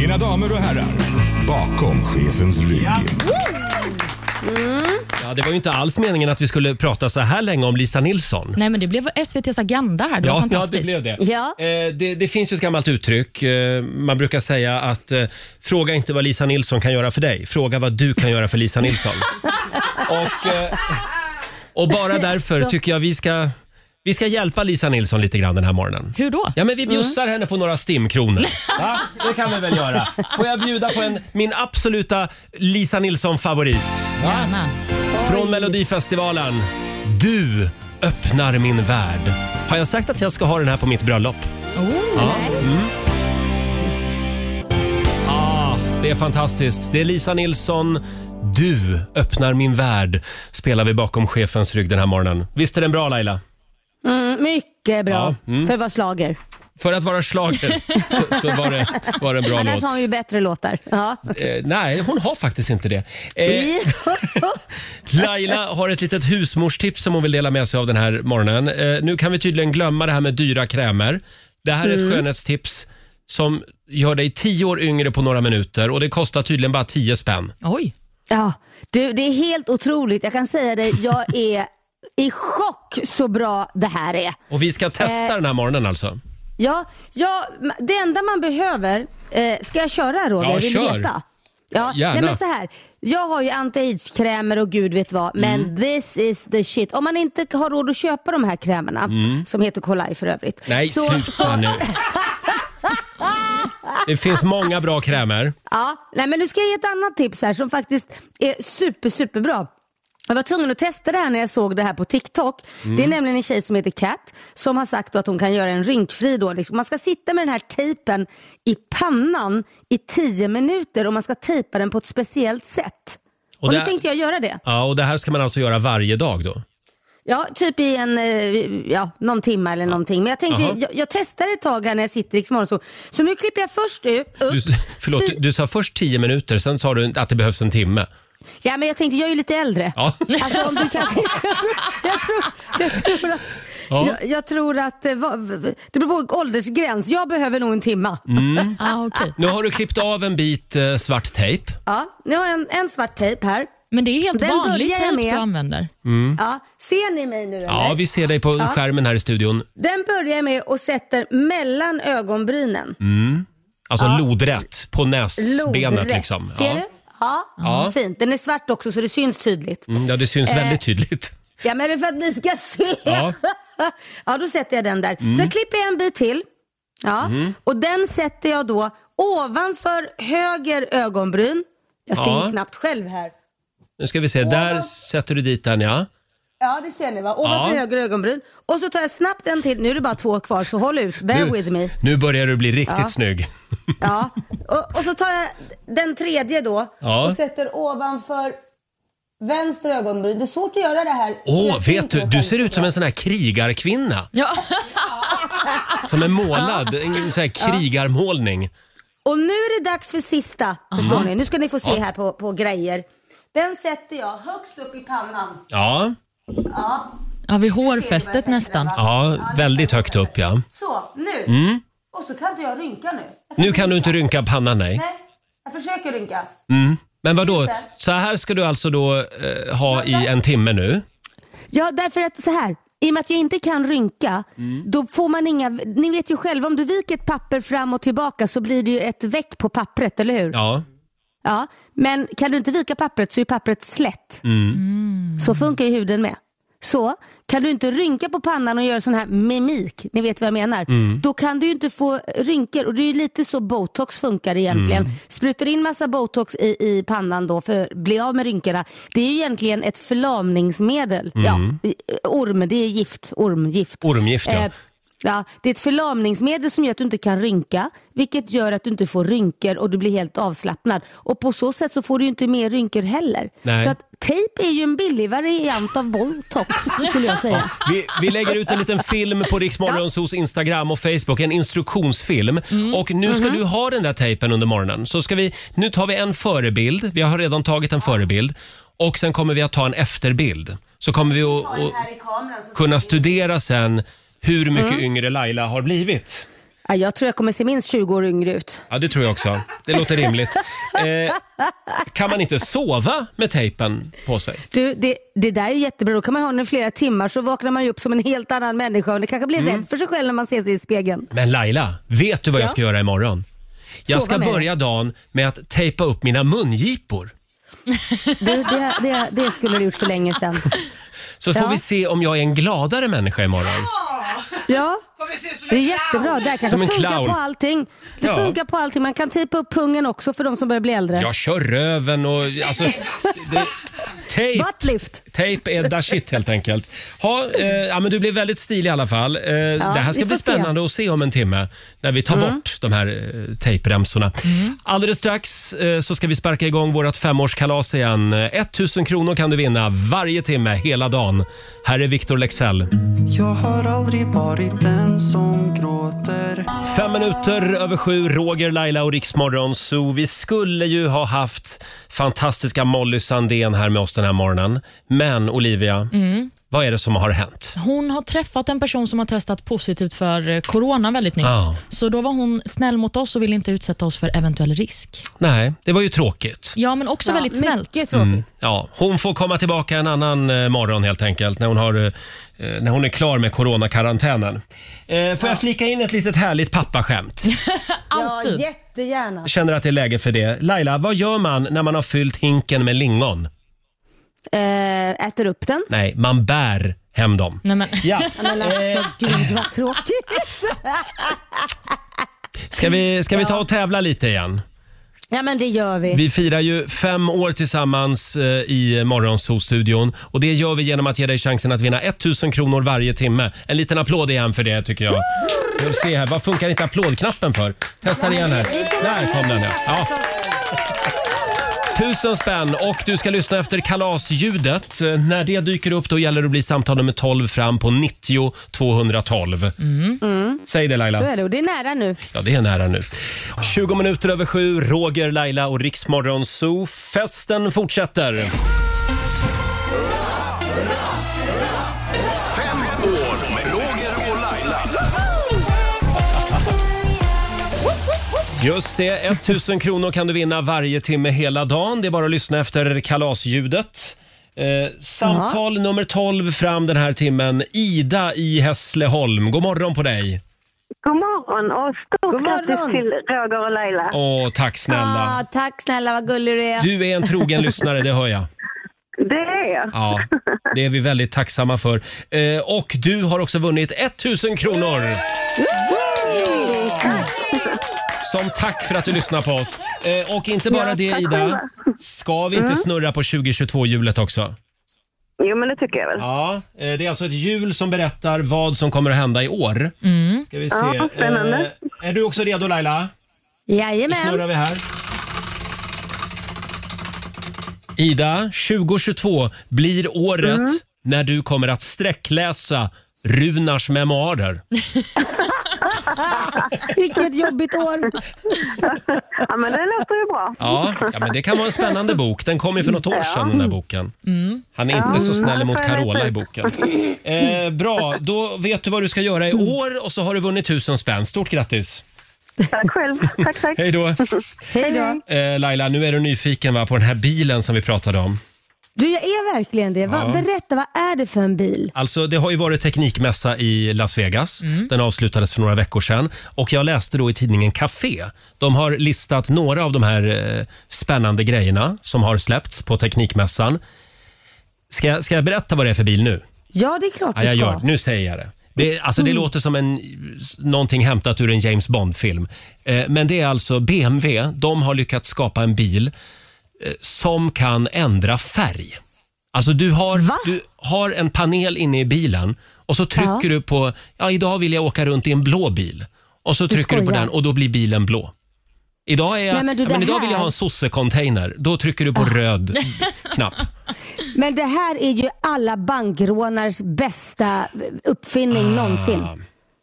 Mina damer och herrar, bakom chefens rygg.
Ja, det var ju inte alls meningen att vi skulle prata så här länge om Lisa Nilsson.
Nej, men Det blev SVTs Agenda här. Det var
Ja, ja,
fantastiskt.
det blev det.
Ja.
Eh, det. Det finns ju ett gammalt uttryck. Eh, man brukar säga att eh, fråga inte vad Lisa Nilsson kan göra för dig. Fråga vad du kan göra för Lisa Nilsson. och, eh, och bara därför tycker jag vi ska, vi ska hjälpa Lisa Nilsson lite grann den här morgonen.
Hur då?
Ja, men vi bjussar henne på några stimkronor. Va? Det kan vi väl göra. Får jag bjuda på en, min absoluta Lisa Nilsson-favorit?
Gärna.
Från Melodifestivalen. Du öppnar min värld. Har jag sagt att jag ska ha den här på mitt bröllop?
Oh.
Det är fantastiskt. Det är Lisa Nilsson. Du öppnar min värld spelar vi bakom chefens rygg den här morgonen. Visst är den bra Laila?
Mm, mycket bra
Ja, mm.
för att vara schlager.
För att vara schlager så, så var, det, var det en bra
Annars
låt.
har hon ju bättre låtar. Ja.
Eh, nej, hon har faktiskt inte det. Eh, Laila har ett litet husmorstips som hon vill dela med sig av den här morgonen. Eh, nu kan vi tydligen glömma det här med dyra krämer. Det här är
Mm.
ett skönhetstips som gör dig tio år yngre på några minuter och det kostar tydligen bara tio spänn.
Oj.
ja. Du, det är helt otroligt. Jag kan säga dig, jag är i chock så bra det här är.
Och vi ska testa
Eh.
den här morgonen alltså.
Ja, ja, det enda man behöver, eh, ska jag köra Roger?
Ja,
Jag vill
kör.
veta. Ja,
Gärna.
Nej, men så här. Jag har ju anti-age-krämer och gud vet vad, men
Mm.
this is the shit. Om man inte har råd att köpa de här krämerna, som heter Colai för övrigt.
Mm. Nej,
så,
sluta nu. Det finns många bra krämer.
Ja, nej men nu ska jag ge ett annat tips här som faktiskt är super, superbra. Jag var tvungen att testa det här när jag såg det här på TikTok.
Mm.
Det är nämligen en tjej som heter Kat som har sagt då att hon kan göra en rynkfri då. Liksom. Man ska sitta med den här tejpen i pannan i 10 minuter och man ska tejpa den på ett speciellt sätt. Och,
det,
nu tänkte jag göra det.
ja, och det här ska man alltså göra varje dag då?
Ja, typ i en, eh, ja, någon timme eller någonting. Men jag tänkte,
Aha.
jag, jag testar ett tag här när jag sitter i Riksmorgon så. Så nu klipper jag först upp.
Du, förlåt,
Fy-
du, du sa först 10 minuter, sen sa du att det behövs en timme.
Ja, men jag tänkte, jag är ju lite äldre.
Ja.
Alltså, om du kan, jag, tror, jag, tror, jag tror att,
Ja.
jag, jag tror att eh, va- v- v- det beror på åldersgräns. Jag behöver nog en timma.
Mm.
Ah, okej.
Nu har du klippt av en bit eh, svart tejp.
Ja, nu har jag en, en svart tejp här.
Men det är helt
Den
vanlig
börjar jag
tejp
med.
du använder.
Ja, ser ni mig nu
Mm. Ja,
eller?
vi ser dig på skärmen här i studion.
Den börjar jag med och sätter mellan ögonbrynen.
Mm. Alltså lodrätt på näsbenet
Lodrätt.
liksom.
Ser du? Ja.
Ja.
fint. Den är svart också så det syns tydligt.
Mm, ja, det syns
Eh.
väldigt tydligt.
Ja, men det är för att ni ska se.
Ja. Mm.
Ja, då sätter jag den där. Sen klipper jag en bit till. Ja, och den sätter jag då ovanför höger ögonbryn. Jag ser
Ja.
ju knappt själv här.
Nu ska vi se, där sätter du dit den ja.
Ja, det ser ni va? Ovanför
Ja.
höger ögonbryn. Och så tar jag snabbt en till. Nu är det bara två kvar, så håll ut. Bear with me.
nu börjar du bli riktigt snygg.
Ja. Och, och så tar jag den tredje då
Ja.
och sätter ovanför vänster ögonbryn. Det är svårt att göra det här.
Åh,
Jag ser
vet
inte
du,
mig
du
själv.
ser ut som en sån här krigarkvinna.
Ja.
Som är målad, en sån här krigarmålning.
Och nu är det dags för sista. Förstår ni? Nu ska ni få se här på, på grejer. Den sätter jag högst upp i pannan.
Ja,
ja, vid hårfästet nästan.
ja, väldigt högt upp ja.
Så, nu. Och så kan inte jag rynka nu. Jag kan
Mm. Nu kan du inte rynka pannan nej.
Nej, jag försöker rynka.
Men vad då? så här ska du alltså då eh, ha i en timme nu?
Ja, därför att så här. I och med att jag inte kan rynka,
Mm.
då får man inga... Ni vet ju själva, om du viker ett papper fram och tillbaka så blir det ju ett veck på pappret, eller hur?
Ja.
Ja, men kan du inte vika pappret så är pappret slätt. Så funkar ju huden med. Så kan du inte rynka på pannan och göra sån här mimik, ni vet vad jag menar. Då kan du ju inte få rynkor och det är ju lite så botox funkar egentligen. Sprutar in massa botox i, i pannan då för att bli av med rynkorna. Det är ju egentligen ett förlamningsmedel. Ja, orm, det är gift. Ormgift.
Ormgift, ja.
Eh, Ja, det är ett förlamningsmedel som gör att du inte kan rynka, vilket gör att du inte får rynkor och du blir helt avslappnad. Och på så sätt så får du ju inte mer rynkor heller.
Nej.
Så att tejp är ju en billig variant av botox, skulle jag säga.
Vi, vi lägger ut en liten film på Riksmorgons hos Instagram och Facebook, en instruktionsfilm. Och nu ska du ha den där tejpen under morgonen. Så ska vi, nu tar vi en förebild, vi har redan tagit en förebild. Och sen kommer vi att ta en efterbild. Så kommer vi att att kunna studera sen hur mycket yngre Laila har blivit.
Ja, jag tror jag kommer se minst 20 år yngre ut.
Ja, det tror jag också. Det låter rimligt. Eh, kan man inte sova med tejpen på sig?
Du, det, det där är jättebra. Då kan man ha den i flera timmar så vaknar man ju upp som en helt annan människa och det kanske blir rädd för sig själv när man ser sig i spegeln.
Men Laila, vet du vad jag ska göra imorgon? Jag
Sova
ska
med
börja dagen med att tejpa upp mina mungipor.
Du, det, det, det skulle du gjort för länge sedan.
Så får
Ja.
vi se om jag är en gladare människa imorgon.
Ja, det är jättebra. Det här kanske
Som en
funkar
clown.
på allting. Det
Ja.
funkar på allting. Man kan tejpa upp pungen också för de som börjar bli äldre.
Jag kör röven och alltså... Det, tejp,
Buttlift.
tejp är da shit helt enkelt. Ha, eh, ja, men du blev väldigt stilig i alla fall. Eh, det här ska bli
vi får se. Mm.
spännande att se om en timme när vi tar bort de här eh, tejpremsorna. Alldeles strax eh, så ska vi sparka igång vårt femårskalas igen. 1000 kronor kan du vinna varje timme hela dagen. Här är Victor Lexell.
Jag har aldrig varit den som gråter
Fem minuter över sju, Roger, Laila och Riksmorgon Så Vi skulle ju ha haft fantastiska Molly Sandén här med oss den här morgonen. Men Olivia,
Mm.
vad är det som har hänt?
Hon har träffat en person som har testat positivt för eh, corona väldigt nyss.
Ja.
Så då var hon snäll mot oss och ville inte utsätta oss för eventuell risk.
Nej, det var ju tråkigt.
Ja, men också väldigt snällt.
Mycket
Mm.
tråkigt.
Ja, hon får komma tillbaka en annan eh, morgon helt enkelt när hon, har, eh, när hon är klar med coronakarantänen. Eh, får jag flika in ett litet härligt pappaskämt?
Alltid.
Ja, jättegärna.
Jag känner att det är läge för det. Laila, vad gör man när man har fyllt hinken med lingon?
Eh, äter upp den.
Nej, man bär hem dem.
Nej, men,
Ja.
Men alltså gud vad tråkigt.
Ska vi, ska vi ta och tävla lite igen?
Ja men det gör vi.
Vi firar ju fem år tillsammans eh, i Morgonzoo-studion och det gör vi genom att ge dig chansen att vinna 1000 kronor varje timme. En liten applåd igen för det tycker jag. Vi får se här, vad funkar inte applådknappen för? Testar igen här. Där kom den ja. ja. Tusen spänn och du ska lyssna efter kalasljudet. Eh, När det dyker upp då gäller det att bli samtal nummer 12 fram på 90 212. Säg det Laila.
Så är det och det är nära nu.
Ja, det är nära nu. 20 minuter över sju, Roger, Laila och Riksmorgon Zoo. Festen fortsätter.
Fem år med Roger och Laila.
Just det, 1000 kronor kan du vinna varje timme hela dagen. Det är bara att lyssna efter kalasljudet. Eh, samtal nummer 12 fram den här timmen. Ida i Hässleholm, god morgon på dig.
God morgon och stort
God morgon.
grattis till Roger och Laila.
Åh, tack snälla.
Ah, tack snälla, vad gullig du är.
Du är en trogen lyssnare, det hör jag.
Det är jag.
Ja, det är vi väldigt tacksamma för. Eh, och du har också vunnit 1000 kronor. Som tack för att du lyssnar på oss. Eh, och inte bara
Ja,
det
tack
Ida,
själva. Mm.
ska vi inte snurra på 2022-hjulet också?
Jo, men det tycker jag väl.
Ja, eh, det är alltså ett hjul som berättar vad som kommer att hända i år. Ska vi se.
Mm. Ja, spännande.
Eh, är du också redo Laila? Nu
Jajamän.
snurrar vi här. Ida, 2022 blir året när du kommer att sträckläsa Runars memoarer.
Vilket jobbigt år.
Ja, men det låter ju bra.
Ja, ja, men det kan vara en spännande bok. Den kom ju för något år sedan den där boken. Han är inte så snäll mot Carola i boken. Eh, bra, då vet du vad du ska göra i år och så har du vunnit tusen spänn. Stort grattis!
Tack själv. Tack, tack.
Hej då!
Hej då.
Eh, Laila, nu är du nyfiken va, på den här bilen som vi pratade om.
Du, jag är verkligen det. Va, Berätta, vad är det för en bil?
Alltså det har ju varit teknikmässa i Las Vegas. Den avslutades för några veckor sedan. Och jag läste då i tidningen Café. De har listat några av de här eh, spännande grejerna som har släppts på teknikmässan. Ska jag, ska jag berätta vad det är för bil nu?
Ja, det är klart
Ja,
du
jag gör det.
ska.
Nu säger jag det. Det, alltså,
Mm.
det låter som en, någonting hämtat ur en James Bond-film. Eh, men det är alltså BMW. De har lyckats skapa en bil eh, som kan ändra färg. Alltså du har,
Va?
du har en panel inne i bilen och så trycker
Ja.
du på, ja idag vill jag åka runt i en blå bil. Och så trycker du på
skojar.
den och då blir bilen blå. Idag, är jag,
Nej, men du,
ja, men
det
idag
här- Ah.
vill jag ha en sosse-container. Då trycker du på röd knapp.
Men det här är ju alla bankrånars bästa uppfinning
Ah.
någonsin.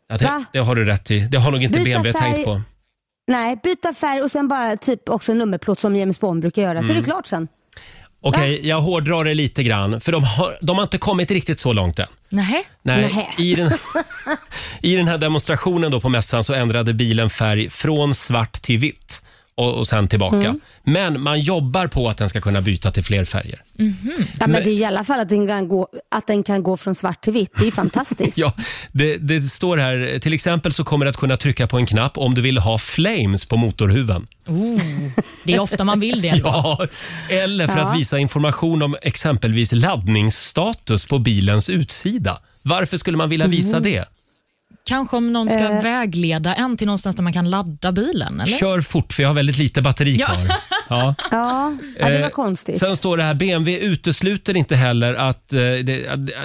Ja, det,
Va?
det har du rätt i. Det har nog inte
Byta
BMW tänkt
färg.
på.
Nej, byta färg och sen bara typ också nummerplåt som James Bond brukar göra, så är
Mm.
det klart sen.
Okej, jag hårdrar det lite grann, för de har, de har inte kommit riktigt så långt än.
Nej.
Nej,
Nähä.
i, den, I den här demonstrationen då på mässan så ändrade bilen färg från svart till vitt och, och sen tillbaka. Men man jobbar på att den ska kunna byta till fler färger.
Ja, men, det är i alla fall att den, kan gå, att den kan gå från svart till vitt. Det är ju fantastiskt.
Ja, det, det står här, till exempel så kommer du att kunna trycka på en knapp om du vill ha flames på motorhuven.
Oh, det är ofta man vill det.
Ja, eller för att visa information om exempelvis laddningsstatus på bilens utsida. Varför skulle man vilja visa det?
Kanske om någon ska vägleda en till någonstans där man kan ladda bilen. Eller?
Kör fort för jag har väldigt lite batteri kvar. Ja.
Ja, ja det var
Eh,
konstigt.
Sen står det här, BMW utesluter inte heller att... eh, det- att- eh,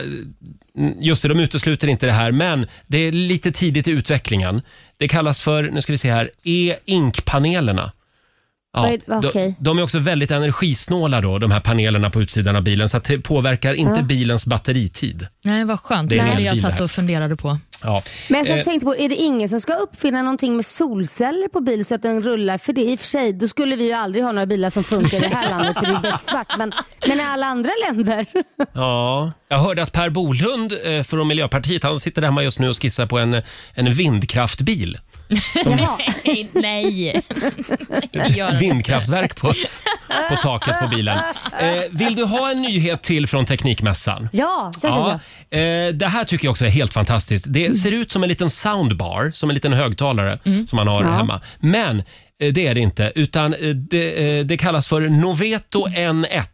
Just det, de utesluter inte det här, men det är lite tidigt i utvecklingen. Det kallas för, nu ska vi se här, e-ink-panelerna. Ja,
Vad är-
de,
okej.
de är också väldigt energisnåla då, de här panelerna på utsidan av bilen, så att det påverkar inte bilens batteritid.
Nej, vad skönt.
Det
Det
är en
var det jag
elbil
satt
där.
och funderade på.
Ja.
Men jag
Eh,
tänkte på, är det ingen som ska uppfinna någonting med solceller på bil så att den rullar? För det i och för sig, då skulle vi ju aldrig ha några bilar som funkar i det här landet för det är becksvart. Men, men i alla andra länder.
Ja, jag hörde att Per Bolund eh, från Miljöpartiet, han sitter hemma just nu och skissar på en, en vindkraftbil.
Jaha.
Nej, inte göra det.
Vindkraftverk på, på taket på bilen. Eh, vill du ha en nyhet till från Teknikmässan?
Ja, ja, ja.
Eh, det här tycker jag också är helt fantastiskt. Det
Mm.
ser ut som en liten soundbar, som en liten högtalare som man har hemma. Men eh, det är det inte, utan eh, det, eh, det kallas för Noveto N1.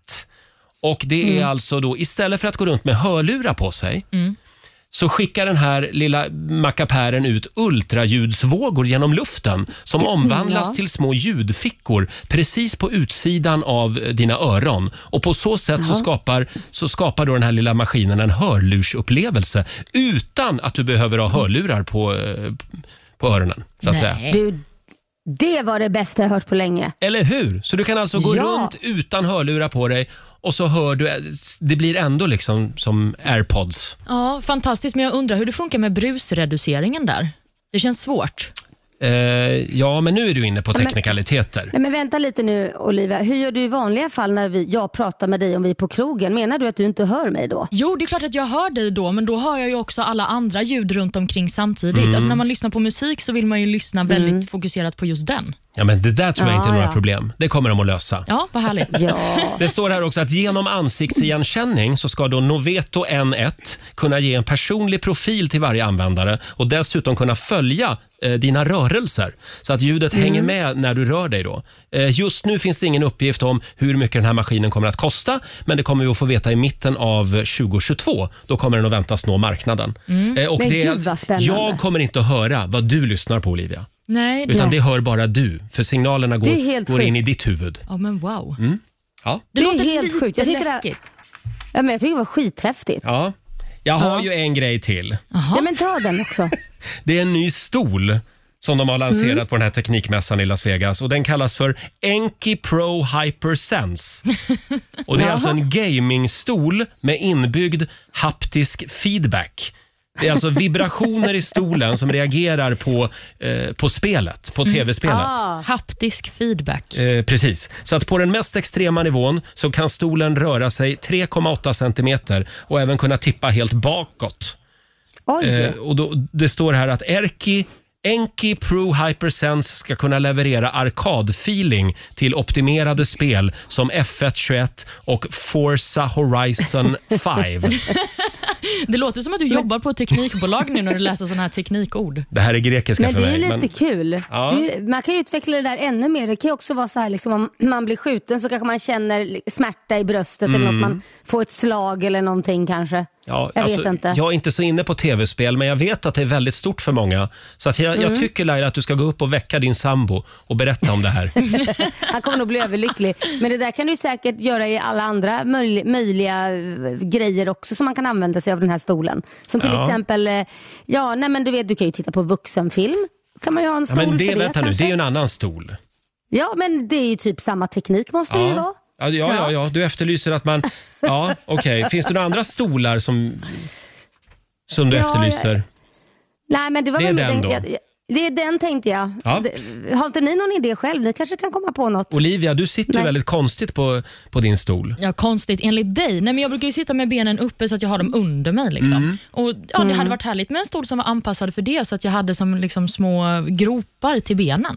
Och det
Mm.
är alltså då, istället för att gå runt med hörlurar på sig, så skickar den här lilla mackapären ut ultraljudsvågor genom luften som omvandlas till små ljudfickor precis på utsidan av eh, dina öron. Och På så sätt så skapar, så skapar då den här lilla maskinen en hörlursupplevelse utan att du behöver ha hörlurar på, eh, på öronen. Så att säga.
Nej.
Du, Det var det bästa jag hört på länge.
Eller hur? Så du kan alltså gå
Ja.
runt utan hörlurar på dig och så hör du, det blir ändå liksom som airpods.
Ja, fantastiskt. Men jag undrar hur det funkar med brusreduceringen där. Det känns svårt.
Eh, ja, men nu är du inne på teknikaliteter.
Nej men vänta lite nu Olivia, hur gör du i vanliga fall när vi, jag pratar med dig om vi är på krogen? Menar du att du inte hör mig då?
Jo, det är klart att jag hör dig då, men då hör jag ju också alla andra ljud runt omkring samtidigt.
Mm.
Alltså när man lyssnar på musik så vill man ju lyssna väldigt
Mm.
fokuserat på just den.
Ja, men det där tror jag inte är
Ja,
några
ja.
problem. Det kommer de att lösa.
Ja, vad härligt.
Ja.
Det står här också att genom ansiktsigenkänning så ska då Noveto N1 kunna ge en personlig profil till varje användare och dessutom kunna följa eh, dina rörelser så att ljudet hänger
Mm.
med när du rör dig. Då. Eh, just nu finns det ingen uppgift om hur mycket den här maskinen kommer att kosta men det kommer vi att få veta i mitten av 2022. Då kommer den att väntas nå marknaden. Eh, och
Mm. Men gud, vad spännande.
jag kommer inte att höra vad du lyssnar på Olivia,
Nej,
utan det hör bara du för signalerna
Det är helt
går, går in i
sjukt.
ditt huvud.
ja, men wow.
Mm. Ja.
Det,
Det är
låter
helt
lite
sjukt. Jag tycker det-
läskigt.
ja men jag tycker det var skithäftigt.
Ja. Jag har
Ja.
ju en grej till.
Ja men ta den också.
Det är en ny stol som de har lanserat
Mm.
på den här teknikmässan i Las Vegas och den kallas för Enki Pro Hypersense. Och det är alltså en gamingstol med inbyggd haptisk feedback. Det är alltså vibrationer i stolen som reagerar på, eh, på spelet, på tv-spelet.
Ah.
Haptisk feedback.
Eh, precis. Så att på den mest extrema nivån så kan stolen röra sig 3,8 centimeter och även kunna tippa helt bakåt.
Oj.
Eh, och då, det står här att Erki Enki Pro Hypersense ska kunna leverera arkadfeeling till optimerade spel som F1 21 och Forza Horizon 5.
Det låter som att du jobbar på ett teknikbolag nu när du läser sådana här teknikord.
Det här är grekiska
Men
för
det är ju
mig.
lite
Men
kul.
Ja.
Det är ju- man kan ju utveckla det där ännu mer. Det kan ju också vara så här, liksom, om man blir skjuten så kanske man känner li- smärta i bröstet eller något. Man får ett slag eller någonting kanske.
Mm. ja,
jag
alltså,
vet inte.
jag är inte så inne på tv-spel, men jag vet att det är väldigt stort för många. Så att jag,
Mm.
jag tycker Laila att du ska gå upp och väcka din sambo och berätta om det här.
Han kommer nog bli överlycklig. Men det där kan du säkert göra i alla andra möj- möjliga eh, grejer också som man kan använda sig av den här stolen. Som till
Ja.
exempel, eh, ja nej men du vet du kan ju titta på vuxenfilm. Kan man ju ha en
Ja,
stol
men det,
för det
vänta nu,
kanske?
det är ju en annan stol.
Ja men det är ju typ samma teknik måste det ju vara.
Ja. Ja, ja, ja, ja, du efterlyser att man... Ja, okej. Finns det några andra stolar som, som du
Ja,
efterlyser?
Nej, men det, var
Det är
väl mer
den då.
jag- jag- Det är den tänkte jag.
Ja.
Det- Har inte ni någon idé själv? Ni kanske kan komma på något?
Olivia, du sitter ju
Nej.
väldigt konstigt på, på din stol.
Ja, konstigt enligt dig. Nej, men jag brukar ju sitta med benen uppe så att jag har dem under mig. Liksom.
Mm.
Och, ja, det
Mm.
hade varit härligt med en stol som var anpassad för det, så att jag hade som liksom, små gropar till benen.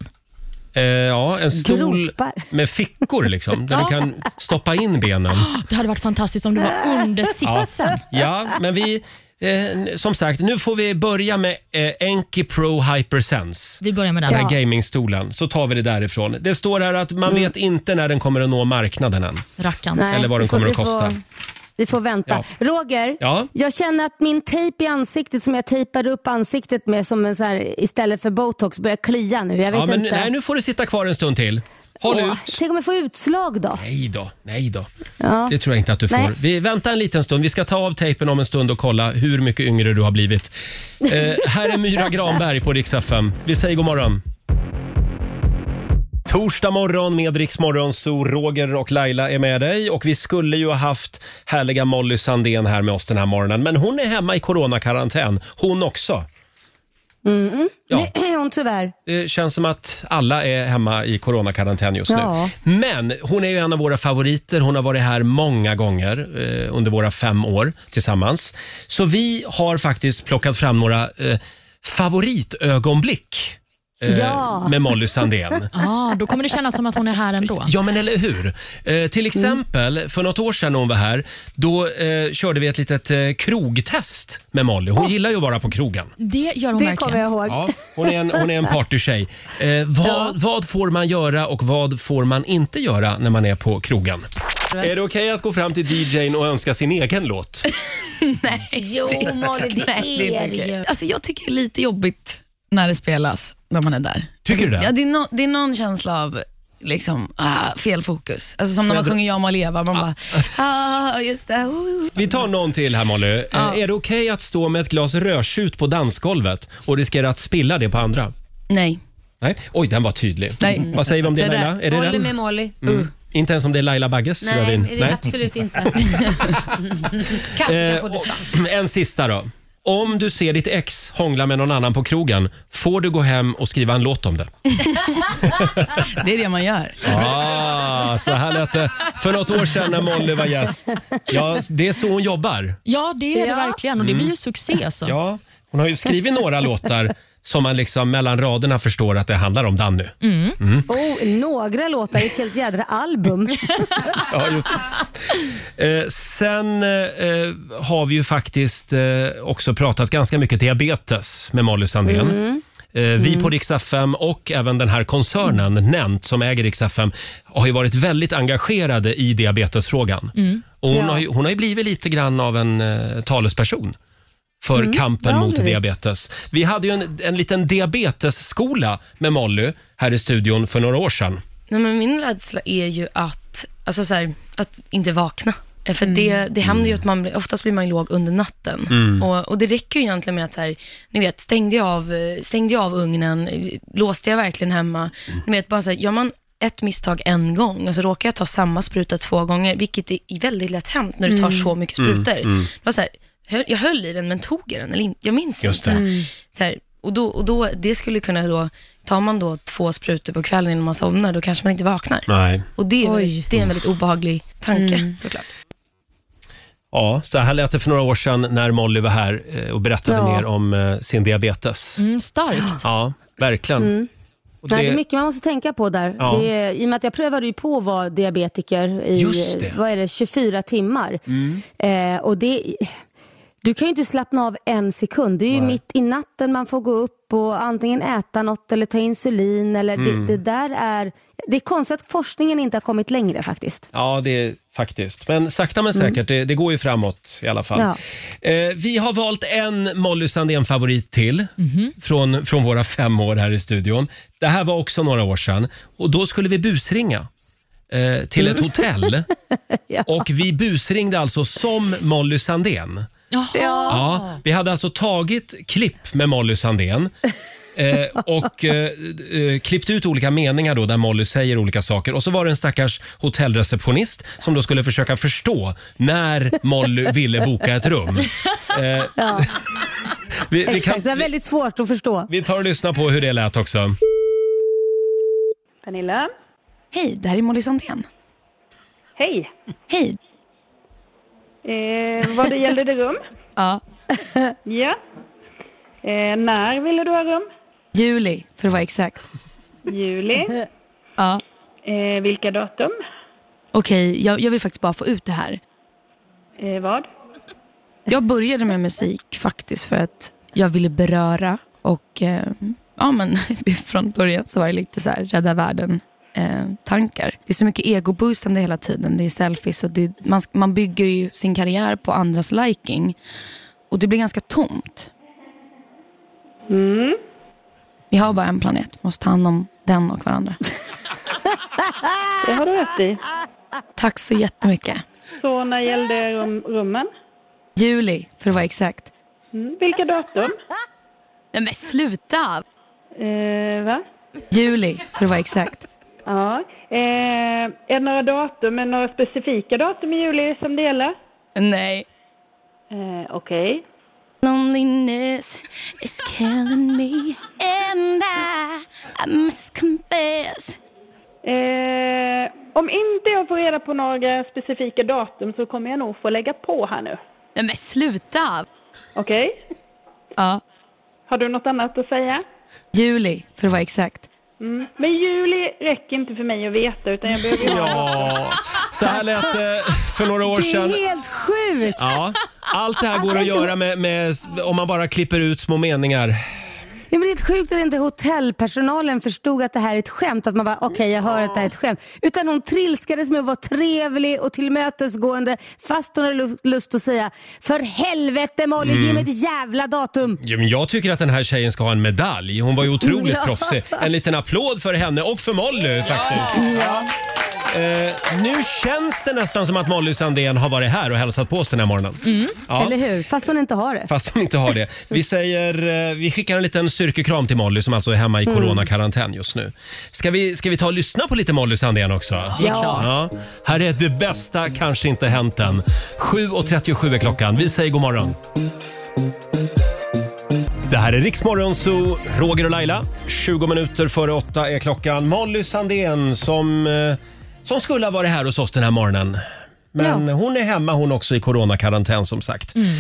Eh, ja, en stol
Gropar.
med fickor liksom, där du kan stoppa in benen.
Det hade varit fantastiskt om det var under sitsen.
Ja, men vi... Eh, som sagt, nu får vi börja med eh, Enki Pro Hypersense.
Vi börjar med den.
Den här gamingstolen, så tar vi det därifrån. Det står här att
Mm.
man vet inte när den kommer att nå marknaden än.
Rackarns.
Nej,
eller vad
vi
den
får-
kommer att
vi får-
kosta.
Vi får vänta. Roger,
Ja?
jag känner att min tejp i ansiktet som jag tejpade upp ansiktet med som en så här, istället för botox börjar klia nu. Jag vet
Ja, men,
inte.
nej, nu får du sitta kvar en stund till. Håll
Åh,
ut.
Tänk om jag får utslag då?
Nej då, nej då.
Ja.
Det tror jag inte att du får.
Nej.
Vi väntar en liten stund. Vi ska ta av tejpen om en stund och kolla hur mycket yngre du har blivit. Eh, här är Myra Granberg på Rix FM. Vi säger god morgon. Torsdag morgon med Rix Morgon, så Roger och Laila är med dig. Och vi skulle ju ha haft härliga Molly Sandén här med oss den här morgonen. Men hon är hemma i coronakarantän, hon också. Ja.
Nej, hon tyvärr.
Det känns som att alla är hemma i coronakarantän just
Ja.
nu. Men hon är ju en av våra favoriter. Hon har varit här många gånger eh, under våra fem år tillsammans. Så vi har faktiskt plockat fram några eh, favoritögonblick eh,
Ja.
med Molly Sandén.
Ah, då kommer det kännas som att hon är här ändå.
Ja, men eller hur? Eh,
Mm.
till exempel, för något år sedan när hon var här, då eh, körde vi ett litet eh, krogtest med Molly. Hon gillar ju att vara på krogen.
Det gör hon
Det kommer
verkligen.
jag ihåg.
Ja, hon är en, hon är en partytjej. Eh, vad, vad får man göra och vad får man inte göra när man är på krogen? Är det okej att gå fram till DJn och önska sin egen låt?
Jo, Malin, det är det ju. Alltså, jag tycker det är lite jobbigt när det spelas, när man är där.
Tycker du
Ja,
det?
det, är nå- det är någon känsla av liksom, ah, fel fokus. Alltså, som när man sjunger Jag må leva, man bara, ah, just det. Oh.
Vi tar någon till här Molly. Eh, Är det okej att stå med ett glas rödtjut på dansgolvet och riskera att spilla det på andra?
Nej,
Nej. Oj, den var tydlig. Mm.
Nej.
Vad säger vi om det,
där.
Laila? Är det
Molly
rätt?
med Molly. Uh.
Mm. Inte ens om det är Laila Bagges
Nej,
rödvin?
det är absolut inte. kan jag
Eh,
få dispens?
och- en sista då. Om du ser ditt ex hångla med någon annan på krogen, får du gå hem och skriva en låt om det?
Det är det man gör.
Ah, så här lät det för något år sedan när Molly var gäst. Ja, det är så hon jobbar.
Ja, det är det verkligen och det
Mm.
blir ju succé. alltså. Så.
Ja, hon har ju skrivit några låtar som man liksom mellan raderna förstår att det handlar om Danny.
Mm.
Mm.
Oh, några låtar i ett helt jädra album.
Ja, just det. Eh, sen eh, har vi ju faktiskt eh, också pratat ganska mycket diabetes med Molly Sandén.
Mm.
Eh, vi
Mm.
på Rix FM och även den här koncernen Nent som äger Rix FM har ju varit väldigt engagerade i diabetesfrågan.
Mm.
Och hon,
Ja.
har ju, hon har ju blivit lite grann av en eh, talesperson för
Mm,
kampen
det har
mot
blivit.
diabetes. Vi hade ju en, en liten diabetesskola med Molly här i studion för några år sedan.
Nej, men min rädsla är ju att, alltså så här, att inte vakna. Eh, För
Mm.
det, det händer ju att man, blir- oftast blir man ju låg under natten.
Mm.
Och, och det räcker ju egentligen med att så här, ni vet, stängde jag av, eh, stängde jag av ugnen, eh, låste jag verkligen hemma?
Mm.
Ni vet, bara så här, gör man ett misstag en gång, alltså råkar jag ta samma spruta två gånger, vilket är väldigt lätt hänt när du tar
Mm.
så mycket
Mm,
sprutor.
mm.
Det var så här, hö- jag höll i den men tog jag den eller inte? Jag minns
Just
inte.
det. Mm.
Så här, och då, och då, det skulle kunna då, tar man då två sprutor på kvällen innan man somnar, då kanske man inte vaknar.
Nej.
Och det är,
Oj.
väldigt, det är en väldigt obehaglig tanke
Mm.
såklart.
Ja, så här lät det för några år sedan när Molly var här eh, och berättade
Ja.
mer om eh, sin diabetes.
Mm, starkt.
Ja, verkligen.
Mm.
Och
Nej, det är
det,
mycket man måste tänka på där.
Ja.
Det är, I och med att jag prövade ju på att vara diabetiker i
Just det.
Vad är det, 24 timmar.
Mm.
Eh, och det, du kan ju inte slappna av en sekund. Det är ju
Nej.
mitt i natten man får gå upp och antingen äta något eller ta insulin. Eller
Mm.
det, det där är... Det är konstigt att forskningen inte har kommit längre faktiskt.
ja, det är faktiskt. Men sakta men säkert, det, det går ju framåt i alla fall.
Mm. Ja.
Eh, vi har valt en Molly Sandén-favorit till
Mhm.
från, från våra fem år här i studion. Det här var också några år sedan och då skulle vi busringa eh, till
Mm.
ett hotell. Och vi busringde alltså som Molly Sandén.
Jaha.
ah.
Ja, vi hade alltså tagit klipp med Molly Sandén eh, och eh, eh, klippt ut olika meningar då där Molly säger olika saker. Och så var det en stackars hotellreceptionist som då skulle försöka förstå när Molly ville boka ett rum. Eh,
Ja.
vi, vi,
Exakt,
kan,
det är väldigt svårt att förstå.
vi tar och lyssnar på hur det lät också.
Pernilla. Hej, det här är Molly Sandén. Hej. Hej.
Eh, vad det gällde det rum?
Ja.
Ja. Eh, när ville du ha rum?
Juli, för att vara exakt.
Juli.
Ja.
Eh, vilka datum?
Okej, jag, jag vill faktiskt bara få ut det här.
Eh, vad?
Jag började med musik faktiskt för att jag ville beröra och eh, ja, men, från början så var det lite så här rädda världen eh, tankar. Det är så mycket egoboostande hela tiden. Det är selfies och det, man, man bygger ju sin karriär på andras liking och det blir ganska tomt.
Mm.
Vi har bara en planet, måste ta hand om den och varandra.
Det har du rätt i.
Tack så jättemycket.
Så när gällde rum, rummen?
Juli, för att vara exakt.
Mm. Vilka datum?
Nej men sluta!
Eh, va?
Juli, för att vara exakt.
Ja. Eh, är det några datum, är det några specifika datum i juli som det gäller?
Nej.
Eh, Okej.
Loneliness is killing me and I, I must confess.
Eh, om inte jag får reda på några specifika datum så kommer jag nog få lägga på här nu.
Nej men sluta!
Okej.
Ja.
Har du något annat att säga?
Juli, för att vara exakt.
Mm. Men juli räcker inte för mig att veta utan jag behöver ju ha-
Ja, så här lät det för några år
Det
sedan.
är helt Alltså- sjukt!
Ja, allt det här går att göra med, med, om man bara klipper ut små meningar.
Ja, men det är helt sjukt att inte hotellpersonalen förstod att det här är ett skämt. Att man bara, okej jag hör att det här är ett skämt. Utan hon trilskades med att vara trevlig och tillmötesgående fast hon hade lu- lust att säga, för helvete Molly, ge
Mm.
mig ett jävla datum.
Ja, men jag tycker att den här tjejen ska ha en medalj. Hon var ju otroligt
Ja.
proffsig. En liten applåd för henne och för Molly faktiskt.
Ja.
Eh, nu känns det nästan som att Molly Sandén har varit här och hälsat på oss den här morgonen.
Mm.
Ja.
Eller hur? Fast hon inte har det.
Fast hon inte har det. Vi, säger, eh, vi skickar en liten styrkekram till Molly som alltså är hemma i
Mm.
coronakarantän just nu. Ska vi, ska vi ta och lyssna på lite Molly Sandén också?
Det är klart.
Ja. Här är det bästa kanske inte hänt än. 7.37 är klockan. Vi säger god morgon. Det här är Riksmorgon Zoo, Roger och Laila. 20 minuter före åtta är klockan. Molly Sandén som, eh, som skulle ha varit här hos oss den här morgonen. Men hon är hemma hon också i coronakarantän som sagt.
Mm.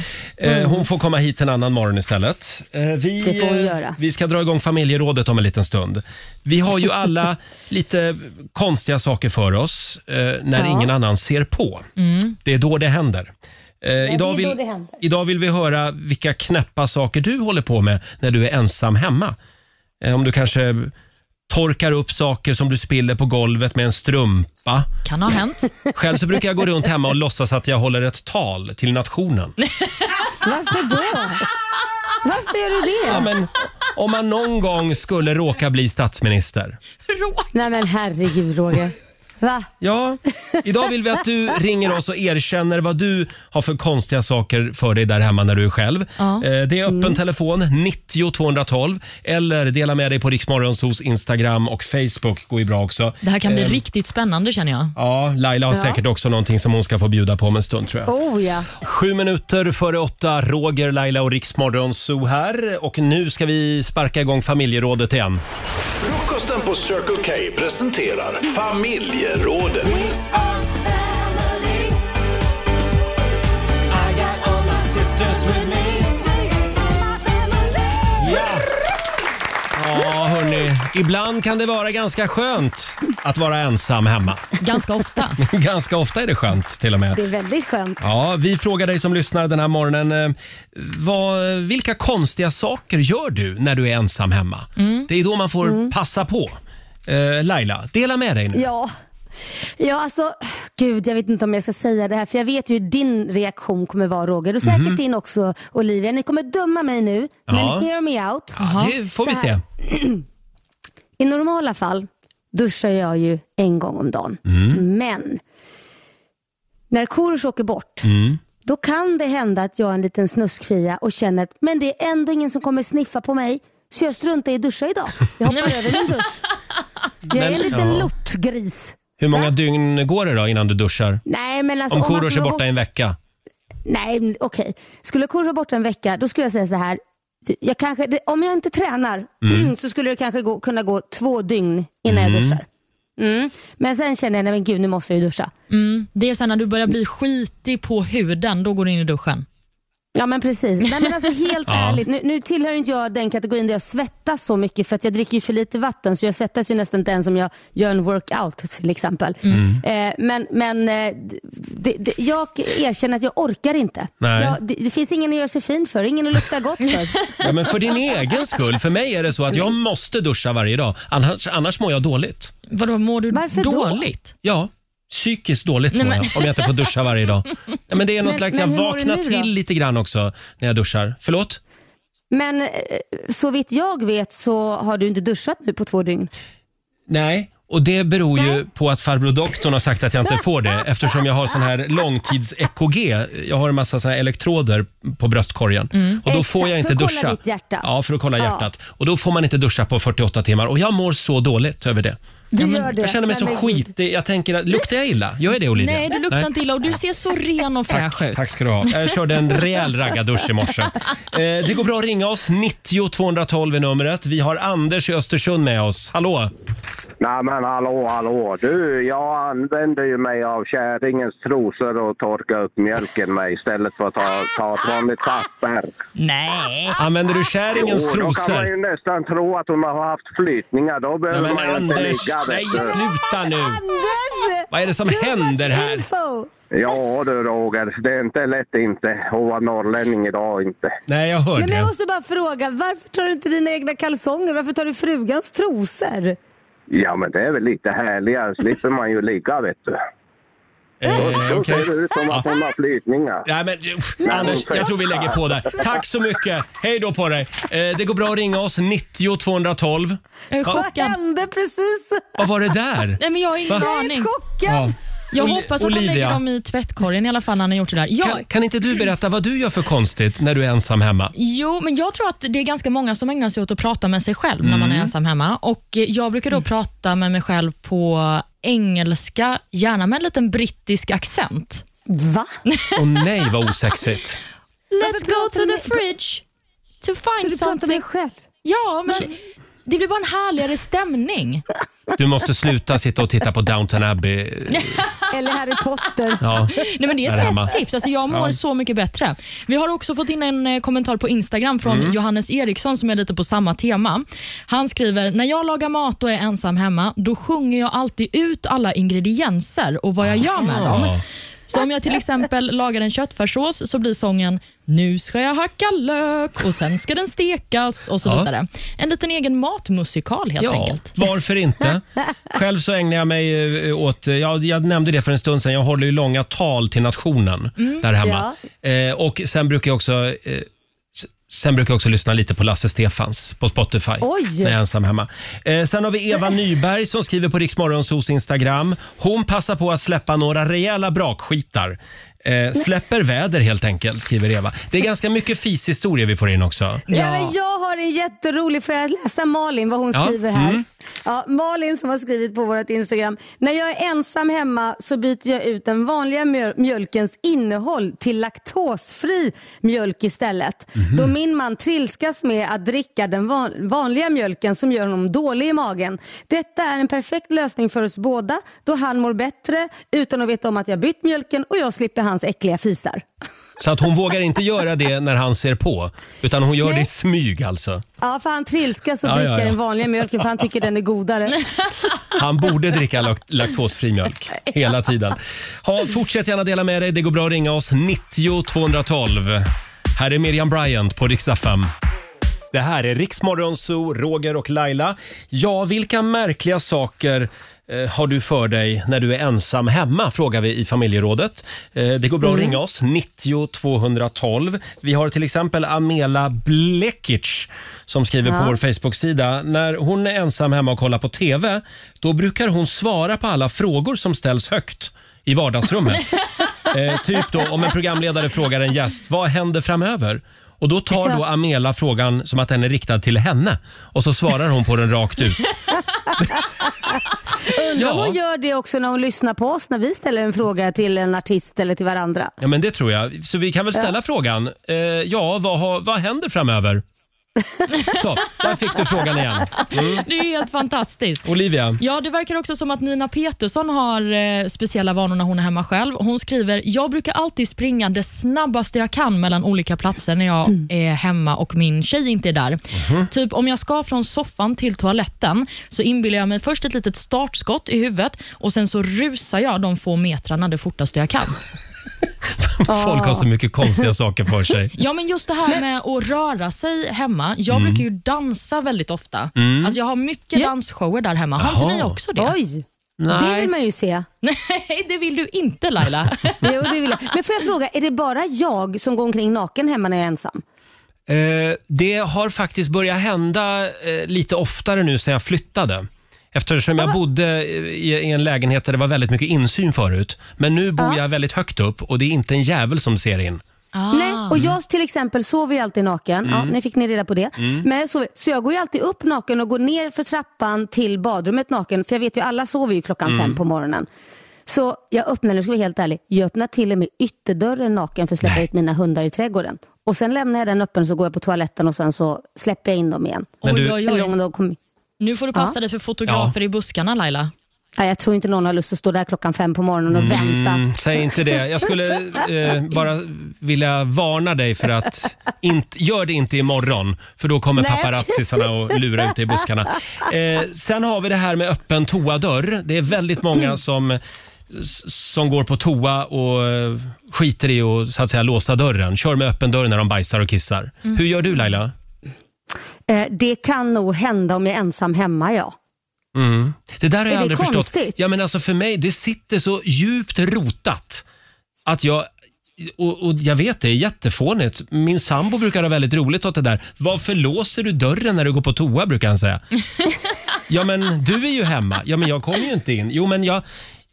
Eh, Hon får komma hit en annan morgon istället. Eh, Vi,
Det får hon
eh,
göra.
vi ska dra igång familjerådet om en liten stund. Vi har ju alla lite konstiga saker för oss eh, när
Ja.
ingen annan ser på.
Mm.
Det är då det händer. Eh,
det är
idag,
då
vill,
det händer.
idag vill vi höra vilka knäppa saker du håller på med när du är ensam hemma. Eh, om du kanske torkar upp saker som du spiller på golvet med en strumpa.
Kan ha hänt.
Själv så brukar jag gå runt hemma och låtsas att jag håller ett tal till nationen.
Varför då? Varför gör du det?
Ja, men, om man någon gång skulle råka bli statsminister.
Nej men herregud Roger. Va?
Ja, idag vill vi att du ringer oss och erkänner vad du har för konstiga saker för dig där hemma när du är själv.
Ja.
Eh, Det är
Mm.
öppen telefon, 90 212 eller dela med dig på Riksmorgonsos Instagram och Facebook går ju bra också.
Det här kan bli
Eh,
riktigt spännande känner jag.
Ja, Laila har
Ja.
säkert också någonting som hon ska få bjuda på om en stund tror jag.
Oh ja.
Sju minuter före åtta, Roger, Laila och Riksmorgonso här. Och nu ska vi sparka igång familjerådet igen.
Frukosten på Circle K presenterar familjerådet.
Ja. Ja, hörni. Ibland kan det vara ganska skönt att vara ensam hemma.
Ganska ofta.
Ganska ofta är det skönt till och
Det är
med.
väldigt skönt.
Ja, vi frågar dig som lyssnar den här morgonen. eh, Vad, vilka konstiga saker gör du när du är ensam hemma? Det är då man får passa på. Eh, Laila, dela med dig nu.
Ja. Ja, alltså, gud, jag vet inte om jag ska säga det här, för jag vet ju hur din reaktion kommer vara Roger, och säkert
Mhm.
din också Olivia. Ni kommer döma mig nu,
Ja.
men hear me out.
Ja, det får vi
Så här. I normala fall duschar jag ju en gång om dagen,
Mm.
men när Korosh åker bort,
Mm.
då kan det hända att jag är en liten snuskfia och känner att men det är ändå ingen som kommer sniffa på mig, så jag struntar i att duscha idag. Jag hoppar över min dusch. Jag är en
Men-
liten
ja.
lortgris.
Hur många dygn går det då innan du duschar?
Nej, men alltså,
om
man
Korosh är
skulle
borta
hoppa-
i en vecka?
Nej, men okej. Skulle Korosh vara borta en vecka, då skulle jag säga så här. Jag kanske, det, om jag inte tränar
Mm.
så skulle det kanske gå, kunna gå två dygn innan jag
Mm.
duschar. Mm. Men sen känner jag, nej men gud nu måste jag ju duscha.
Mm. Det är sen när du börjar bli skitig på huden, då går du in i duschen.
Ja men precis. Nej, men alltså, helt
Ja.
ärligt, nu, nu tillhör ju inte jag den kategorin där jag svettas så mycket för att jag dricker ju för lite vatten så jag svettas ju nästan inte ens om jag gör en workout till exempel.
Mm.
Eh, men men eh, det, det, jag erkänner att jag orkar inte.
Nej.
Jag, det, det finns ingen att göra sig fin för, ingen att lukta gott för.
Ja, men för din egen skull. För mig är det så att jag måste duscha varje dag. Annars, annars mår jag dåligt.
Vadå, mår du
Varför då?
dåligt?
Ja, psykiskt dåligt
Nej,
mår
men-
jag om jag inte får duscha varje dag. Nej, men det är någon
Men-
slags,
men
jag
hur mår du
vaknar
nu då?
till lite grann också när jag duschar. Förlåt?
Men eh, så vitt jag vet så har du inte duschat nu på två dygn.
Nej. Och det beror ju på att farbror doktorn har sagt att jag inte får det eftersom jag har sån här långtids-EKG. Jag har en massa såna här elektroder på bröstkorgen
Mm.
och då får jag
Exakt, för
inte
att kolla
duscha.
ditt hjärta.
Ja, för att kolla
Ja.
hjärtat. Och då får man inte duscha på 48 timmar och jag mår så dåligt över det.
Du gör det.
Jag känner mig så
Nej, men gud.
skitig. Jag tänker, att- luktar jag illa? Gör jag det Olivia?
Nej, du luktar inte illa och du ser så ren och fräsch
Tack,
ut.
tack ska du ha. Jag körde en rejäl raggardusch i morse. Eh, det går bra att ringa oss. 90 212 är numret. Vi har Anders i Östersund med oss. Hallå!
Nej men hallå, hallå. Du, jag använder ju mig av kärringens trosor och torka upp mjölken med istället för att ta, ta ett vanligt papper.
Nej.
Använder du kärringens
Jo, Då kan man
trosor?
ju nästan tro att hon har haft flytningar. Då behöver
Nej, men
man ju inte
Anders,
ligga. vet
nej
du.
sluta nu! Vad är det som händer här?
Ja du Roger, det är inte lätt inte att vara norrlänning idag inte.
Nej, jag hör
Nej, men jag måste bara fråga, varför tar du inte dina egna kalsonger? Varför tar du frugans trosor?
Ja men det är väl lite härligare, slipper man ju ligga vet du. Då då
okej.
ser det ut som att hon har flytningar.
Eh, Nej, men, Anders, jag tror vi lägger på där. Tack så mycket. Hej då på dig. Eh, det går bra att ringa oss, 90 212.
Jag
Ja,
är chockad. Vad hände
precis?
Vad var det där?
Nej, men jag har ingen
Va?
aning.
Ja.
Jag
Oli-
hoppas att han lägger dem i tvättkorgen i alla fall när han har gjort det där. Jag,
Kan, kan inte du berätta vad du gör för konstigt när du är ensam hemma?
Jo, men jag tror att det är ganska många som ägnar sig åt att prata med sig själv när man är
Mm.
ensam hemma. Och eh, Jag brukar då prata med mig själv på engelska, gärna med en liten brittisk accent.
Va?
Åh nej, vad osexigt.
Let's go to the fridge to find something. Ja, men det blir bara en härligare stämning.
Du måste sluta sitta och titta på Downton Abbey.
Eller Harry Potter.
Ja,
Nej, men det
där
är ett
hemma.
hett tips. Alltså, jag mår
Ja.
så mycket bättre. Vi har också fått in en eh, kommentar på Instagram från
Mm.
Johannes Eriksson som är lite på samma tema. Han skriver, när jag lagar mat och är ensam hemma, då sjunger jag alltid ut alla ingredienser och vad jag gör med dem.
Ah.
Så om jag till exempel lagar en köttfärssås så blir sången “Nu ska jag hacka lök och sen ska den stekas” och så
Ja.
vidare. En liten egen matmusikal helt
Ja,
enkelt.
varför inte? Själv så ägnar jag mig eh, åt, eh, jag, jag nämnde det för en stund sedan, jag håller ju långa tal till nationen
Mm,
där hemma. Eh, och sen brukar jag också eh, s- Sen brukar jag också lyssna lite på Lasse Stefans på Spotify
Oj.
när jag är ensam hemma. Eh, sen har vi Eva Nyberg som skriver på Riksmorgonsos Instagram. Hon passar på att släppa några rejäla brakskitar. Eh, släpper väder helt enkelt, skriver Eva. Det är ganska mycket fishistorier vi får in också.
Ja. men jag har en jätterolig, får jag läsa Malin vad hon
Ja,
skriver här?
mm.
Ja, Malin som har skrivit på vårt Instagram. När jag är ensam hemma så byter jag ut den vanliga mjöl- mjölkens innehåll till laktosfri mjölk istället.
Mhm.
Då min man trilskas med att dricka den van- vanliga mjölken som gör honom dålig i magen. Detta är en perfekt lösning för oss båda då han mår bättre utan att veta om att jag bytt mjölken och jag slipper hans äckliga fisar.
Så att hon vågar inte göra det när han ser på, utan hon gör det i smyg alltså.
Ja, för han trilskas och
Ja, ja,
dricker
ja.
den vanliga mjölken för han tycker den är godare.
Han borde dricka lak- laktosfri mjölk hela tiden. Ha, fortsätt gärna dela med dig. Det går bra att ringa oss 90 212. Här är Miriam Bryant på riksdag 5. Det här är Riksmorgon Zoo, Roger och Laila. Ja, vilka märkliga saker eh, har du för dig när du är ensam hemma? Frågar vi i familjerådet. Eh, det går bra att
Mm.
ringa oss, 90 212. Vi har till exempel Amela Blekic som skriver
Ja.
på vår Facebook-sida. När hon är ensam hemma och kollar på TV, då brukar hon svara på alla frågor som ställs högt i vardagsrummet. Eh, typ då om en programledare frågar en gäst, vad händer framöver? Och då tar då Amela frågan som att den är riktad till henne och så svarar hon på den rakt ut.
Undrar om
Ja.
hon gör det också när hon lyssnar på oss när vi ställer en fråga till en artist eller till varandra.
Ja men det tror jag. Så vi kan väl ställa frågan, eh, ja vad, har, vad händer framöver? Så, där fick du frågan igen. Mm.
Det är helt fantastiskt.
Olivia?
Ja, det verkar också som att Nina Petersson har eh, speciella vanor när hon är hemma själv. Hon skriver, jag brukar alltid springa det snabbaste jag kan mellan olika platser när jag är hemma och min tjej inte är där.
Mhm.
Typ om jag ska från soffan till toaletten så inbillar jag mig först ett litet startskott i huvudet och sen så rusar jag de få metrarna det fortaste jag kan.
Folk har så mycket konstiga saker för sig.
Ja, men just det här med att röra sig hemma. Jag
Mm.
brukar ju dansa väldigt ofta.
Mm.
Alltså jag har mycket dansshower där hemma. Har
Jaha.
inte ni också det?
Oj.
Nej.
Det vill man ju se.
Nej, det vill du inte Laila.
Jo, det vill jag. Men får jag fråga, är det bara jag som går omkring naken hemma när jag är ensam?
Eh, det har faktiskt börjat hända eh, lite oftare nu sen jag flyttade. Eftersom jag bodde eh, i, i en lägenhet där det var väldigt mycket insyn förut. Men nu bor jag väldigt högt upp och det är inte en jävel som ser in.
Ah.
Nej, och jag till exempel sover ju alltid naken. Ja,
Mm.
nu fick ni reda på det.
Mm.
Men jag sover, så jag går ju alltid upp naken och går ner för trappan till badrummet naken. För jag vet ju, alla sover ju klockan
Mm.
fem på morgonen. Så jag öppnar, nu ska jag vara helt ärlig, jag öppnar till och med ytterdörren naken för att släppa ut mina hundar i trädgården. Och sen lämnar jag den öppen så går jag på toaletten och sen så släpper jag in dem igen.
Men Oj, du- oj, oj.
Eller om de kommer-
Nu får du passa
Ja.
dig för fotografer i buskarna Laila.
Nej, jag tror inte någon har lust att stå där klockan fem på morgonen och vänta.
Mm, säg inte det. Jag skulle eh, bara vilja varna dig för att inte, gör det inte imorgon för då kommer
Nej.
paparazzisarna och lura ut dig i buskarna. Eh, sen har vi det här med öppen toadörr. Det är väldigt många
Mm.
som s- som går på toa och eh, skiter i att så att säga låsa dörren. Kör med öppen dörr när de bajsar och kissar.
Mm.
Hur gör du Laila?
Eh, Det kan nog hända om jag är ensam hemma, ja.
Mm. Det där har
Är
jag
det
aldrig förstått.
konstigt?
Ja, men alltså för mig, det sitter så djupt rotat att jag och, och jag vet det är jättefånigt. Min sambo brukar ha väldigt roligt åt det där. Varför låser du dörren när du går på toa? brukar han säga. Ja, men du är ju hemma. Ja, men jag kommer ju inte in. Jo, men jag,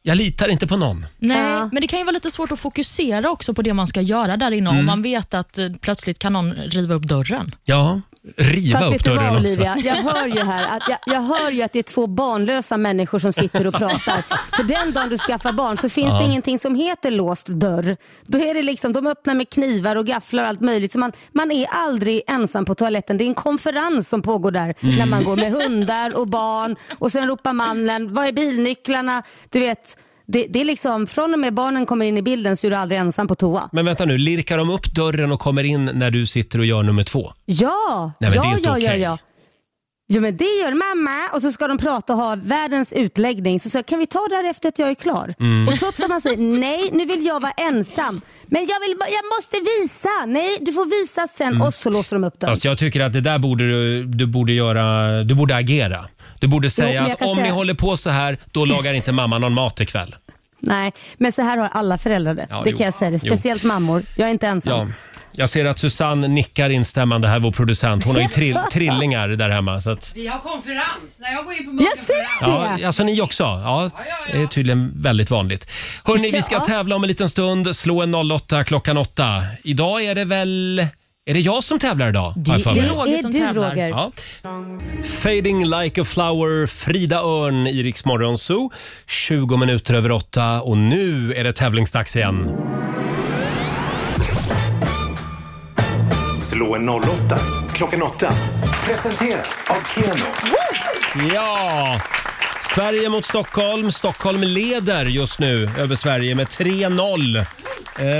jag litar inte på någon.
Nej, men det kan ju vara lite svårt att fokusera också på det man ska göra där inne
Mm.
om man vet att eh, plötsligt kan någon riva upp dörren.
Ja, riva
Fast
upp
vet du
dörren
vad,
också.
Olivia? Jag hör, ju här att, jag, jag hör ju att det är två barnlösa människor som sitter och pratar. För den dagen du skaffar barn så finns
Ja.
det ingenting som heter låst dörr. Då är det liksom, de öppnar med knivar och gafflar och allt möjligt. Så man, man är aldrig ensam på toaletten. Det är en konferens som pågår där
Mm.
när man går med hundar och barn och sen ropar mannen, var är bilnycklarna? Du vet, det, det är liksom, från och med barnen kommer in i bilden så är du aldrig ensam på toa.
Men vänta nu, lirkar de upp dörren och kommer in när du sitter och gör nummer två?
Ja,
Nej, men
ja,
det är inte
ja,
okej.
ja, ja. Jo men det gör mamma och så ska de prata och ha världens utläggning. Så, så kan vi ta det här efter att jag är klar?
Mm.
Och trots att man säger nej, nu vill jag vara ensam. Men jag, vill, ba- jag måste visa. Nej, du får visa sen.
Mm.
Och så låser de upp dörren.
Fast jag tycker att det där borde du, du borde göra, du borde agera. Du borde säga
men jag
att
kan
om ni
säga-
håller på så här, då lagar inte mamma någon mat ikväll.
Nej, men så här har alla föräldrar det.
Ja,
det
jo.
kan jag säga. Det.
Jo.
Speciellt mammor. Jag är inte ensam.
Ja. Jag ser att Susanne nickar instämmande här, vår producent. Hon har ju trill, trillingar där hemma. Så att,
Vi har konferens. När jag går in på mörka Jag ser
ja, alltså ni också? Ja, det är tydligen väldigt vanligt. Hörni, vi ska
Ja.
tävla om en liten stund. Slå en 08 klockan 8. Idag är det väl... Är det jag som tävlar idag? har jag för
det är
mig?
Roger som tävlar.
Ja. Fading like a flower, Frida Örn i Rix Morgon Zoo. 20 minuter över åtta och nu är det tävlingsdags igen.
Slå en 08 klockan 8. Presenteras av Keno.
Ja! Sverige mot Stockholm. Stockholm leder just nu över Sverige med 3-0. Eh,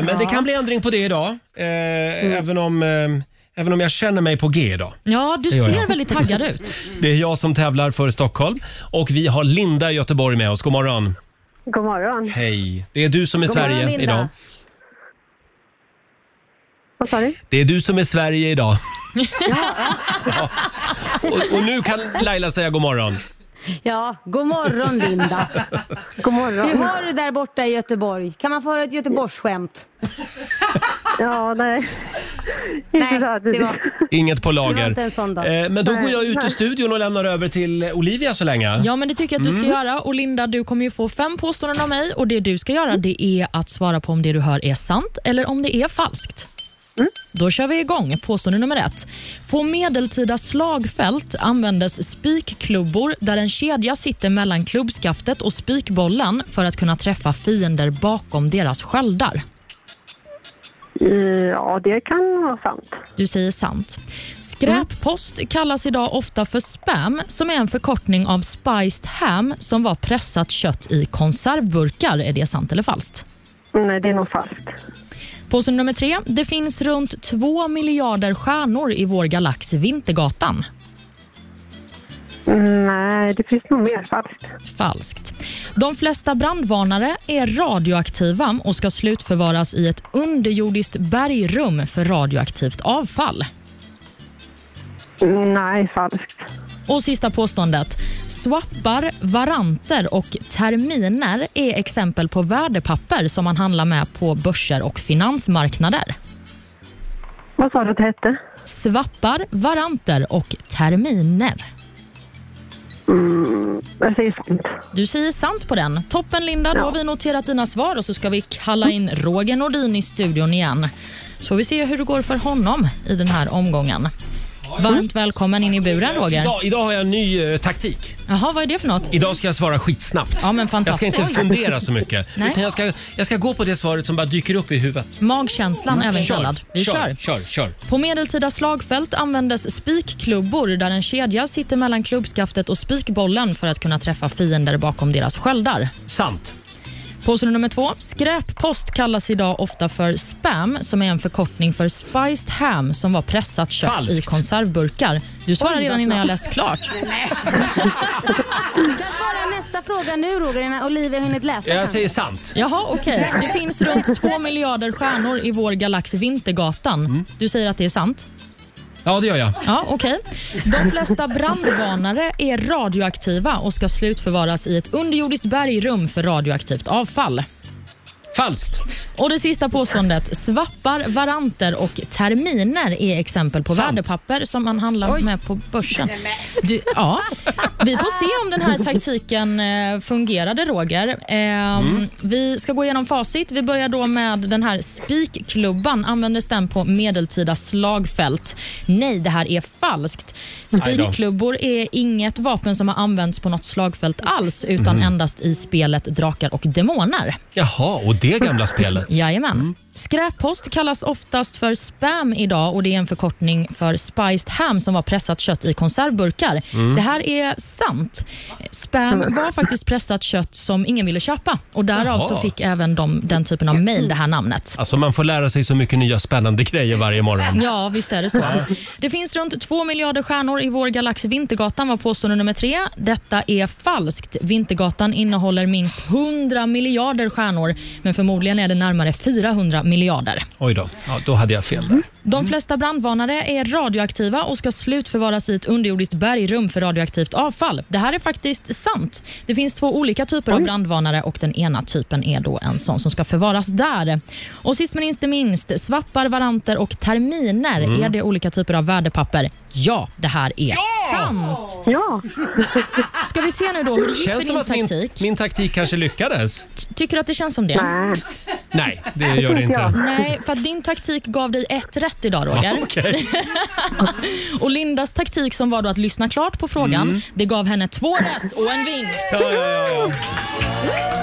Men det kan bli ändring på det idag, eh,
Mm.
även, om, eh, även om jag känner mig på G idag.
Ja, du
Det gör
ser
jag.
väldigt taggad ut.
Det är jag som tävlar för Stockholm och vi har Linda i Göteborg med oss. God morgon!
God morgon.
Hej! Det är du som är
God morgon,
Sverige
Linda.
idag.
Vad sa du?
Det är du som är Sverige idag. Ja. Och, och nu kan Laila säga god morgon.
Ja, god morgon Linda. god morgon. Hur har du där borta i Göteborg? Kan man få höra ett Göteborgsskämt? ja, nej. Nej, det var...
Inget på lager.
Det var inte en sån dag.
Eh, Men då
Nej.
går jag ut ur
Nej.
studion och lämnar över till Olivia så länge.
Ja, men det tycker jag att du ska
Mm.
göra. Och Linda, du kommer ju få fem påståenden av mig och det du ska göra det är att svara på om det du hör är sant eller om det är falskt. Då kör vi igång. Påstående nummer ett. På medeltida slagfält användes spikklubbor där en kedja sitter mellan klubbskaftet och spikbollen för att kunna träffa fiender bakom deras sköldar.
Ja, det kan vara sant.
Du säger sant. Skräppost kallas idag ofta för spam som är en förkortning av spiced ham som var pressat kött i konservburkar. Är det sant eller falskt?
Nej, det är nog falskt.
Påstående nummer tre. Det finns runt två miljarder stjärnor i vår galax Vintergatan.
Nej, det finns nog mer falskt.
Falskt. De flesta brandvarnare är radioaktiva och ska slutförvaras i ett underjordiskt bergrum för radioaktivt avfall.
Nej, falskt.
Och sista påståendet. Swappar, varanter och terminer är exempel på värdepapper som man handlar med på börser och finansmarknader.
Vad sa du att det hette?
Swappar, varanter och terminer.
Mm, jag säger sant.
Du säger sant på den. Toppen Linda, då har vi noterat dina svar och så ska vi kalla in Roger Nordin i studion igen. Så får vi se hur det går för honom i den här omgången. Varmt välkommen in i buren Roger.
Idag, idag har jag en ny eh, taktik.
Jaha, vad är det för något?
Idag ska jag svara skitsnabbt.
Ja, men
jag ska
fantastiskt.
inte fundera så mycket.
Nej.
utan jag, ska, jag ska gå på det svaret som bara dyker upp i huvudet.
Magkänslan även kallad. Vi
kör,
kör.
kör, kör.
På medeltida slagfält användes spikklubbor där en kedja sitter mellan klubbskaftet och spikbollen för att kunna träffa fiender bakom deras sköldar.
Sant.
Påstående nummer två. Skräppost kallas idag ofta för spam som är en förkortning för spiced ham som var pressat kött
Falskt.
i konservburkar. Du svarar
Oj,
redan
vad
innan jag
snabbt.
läst klart.
Du kan svara nästa fråga nu Roger innan Olivia hunnit läsa. den.
Jag säger sant.
Jaha, okej. Det finns
Mm.
runt två miljarder stjärnor i vår galax Vintergatan. Du säger att det är sant?
Ja, det gör jag.
Ja, okej. De flesta brandvarnare är radioaktiva och ska slutförvaras i ett underjordiskt bergrum för radioaktivt avfall.
Falskt.
Och det sista påståendet. Svappar, varanter och terminer är exempel på värdepapper som man handlar med på börsen. Du, ja. Vi får se om den här taktiken eh, fungerade, Roger. Ehm,
Mm.
Vi ska gå igenom facit. Vi börjar då med den här spikklubban. Användes den på medeltida slagfält? Nej, det här är falskt.
Aj då.
Spikklubbor är inget vapen som har använts på något slagfält alls, utan
Mhm.
endast i spelet Drakar och Demoner.
Jaha, och det gamla spelet.
Jajamän.
Mm.
Skräppost kallas oftast för spam idag och det är en förkortning för spiced ham som var pressat kött i konservburkar.
Mm.
Det här är sant. Spam
Mm.
var faktiskt pressat kött som ingen ville köpa och därav
Jaha.
så fick även de, den typen av mejl det här namnet.
Alltså man får lära sig så mycket nya spännande grejer varje morgon.
Ja, visst är det så.
Mm. Ja.
Det finns runt 2 miljarder stjärnor i vår galax Vintergatan var påstående nummer tre. Detta är falskt. Vintergatan innehåller minst 100 miljarder stjärnor, men förmodligen är det närmare 400 miljarder.
Oj då, ja, då hade jag
Mm.
fel där.
De flesta brandvarnare är radioaktiva och ska slutförvaras i ett underjordiskt bergrum för radioaktivt avfall. Det här är faktiskt sant. Det finns två olika typer av brandvarnare och den ena typen är då en sån som ska förvaras där. Och sist men inte minst, svappar, varanter och terminer.
Mm.
Är det olika typer av värdepapper? Ja, det här är sant. Ja! Ska vi se nu då hur det gick
Känns
för
som
din
att min,
taktik?
min taktik kanske lyckades.
Tycker du att det känns som det?
Nej, det gör det inte.
Nej, för att din taktik gav dig ett rätt idag Roger.
Ja, okej.
och Lindas taktik som var då att lyssna klart på frågan,
Mm.
det gav henne två rätt och en vinst.
Ja, ja, ja, ja.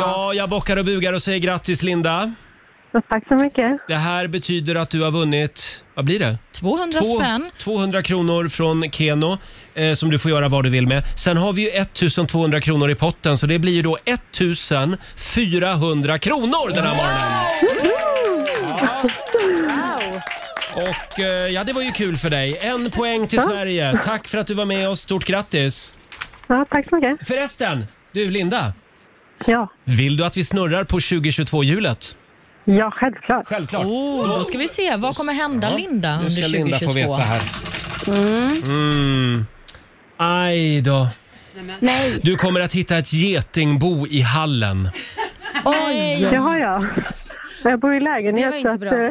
Ja, jag bockar och bugar och säger grattis Linda.
Tack så mycket.
Det här betyder att du har vunnit, vad blir det?
200
Två-
spänn.
200 kronor från Keno eh, som du får göra vad du vill med. Sen har vi ju 1200 kronor i potten så det blir ju då 1400 kronor den här morgonen. Och eh, ja, det var ju kul för dig. En poäng till
Ja.
Sverige. Tack för att du var med oss. Stort grattis!
Ja, tack så mycket.
Förresten, du Linda.
Ja.
Vill du att vi snurrar på 2022-hjulet?
Ja, självklart.
Självklart.
Oh, då ska vi se, vad kommer hända Linda
Nu ska
under 2022?
Linda få veta här. Mm. Aj då.
Nej.
Du kommer att hitta ett getingbo i hallen.
Oj!
Det har jag. Jag bor i lägenhet.
Det var inte
så att,
bra.
eh,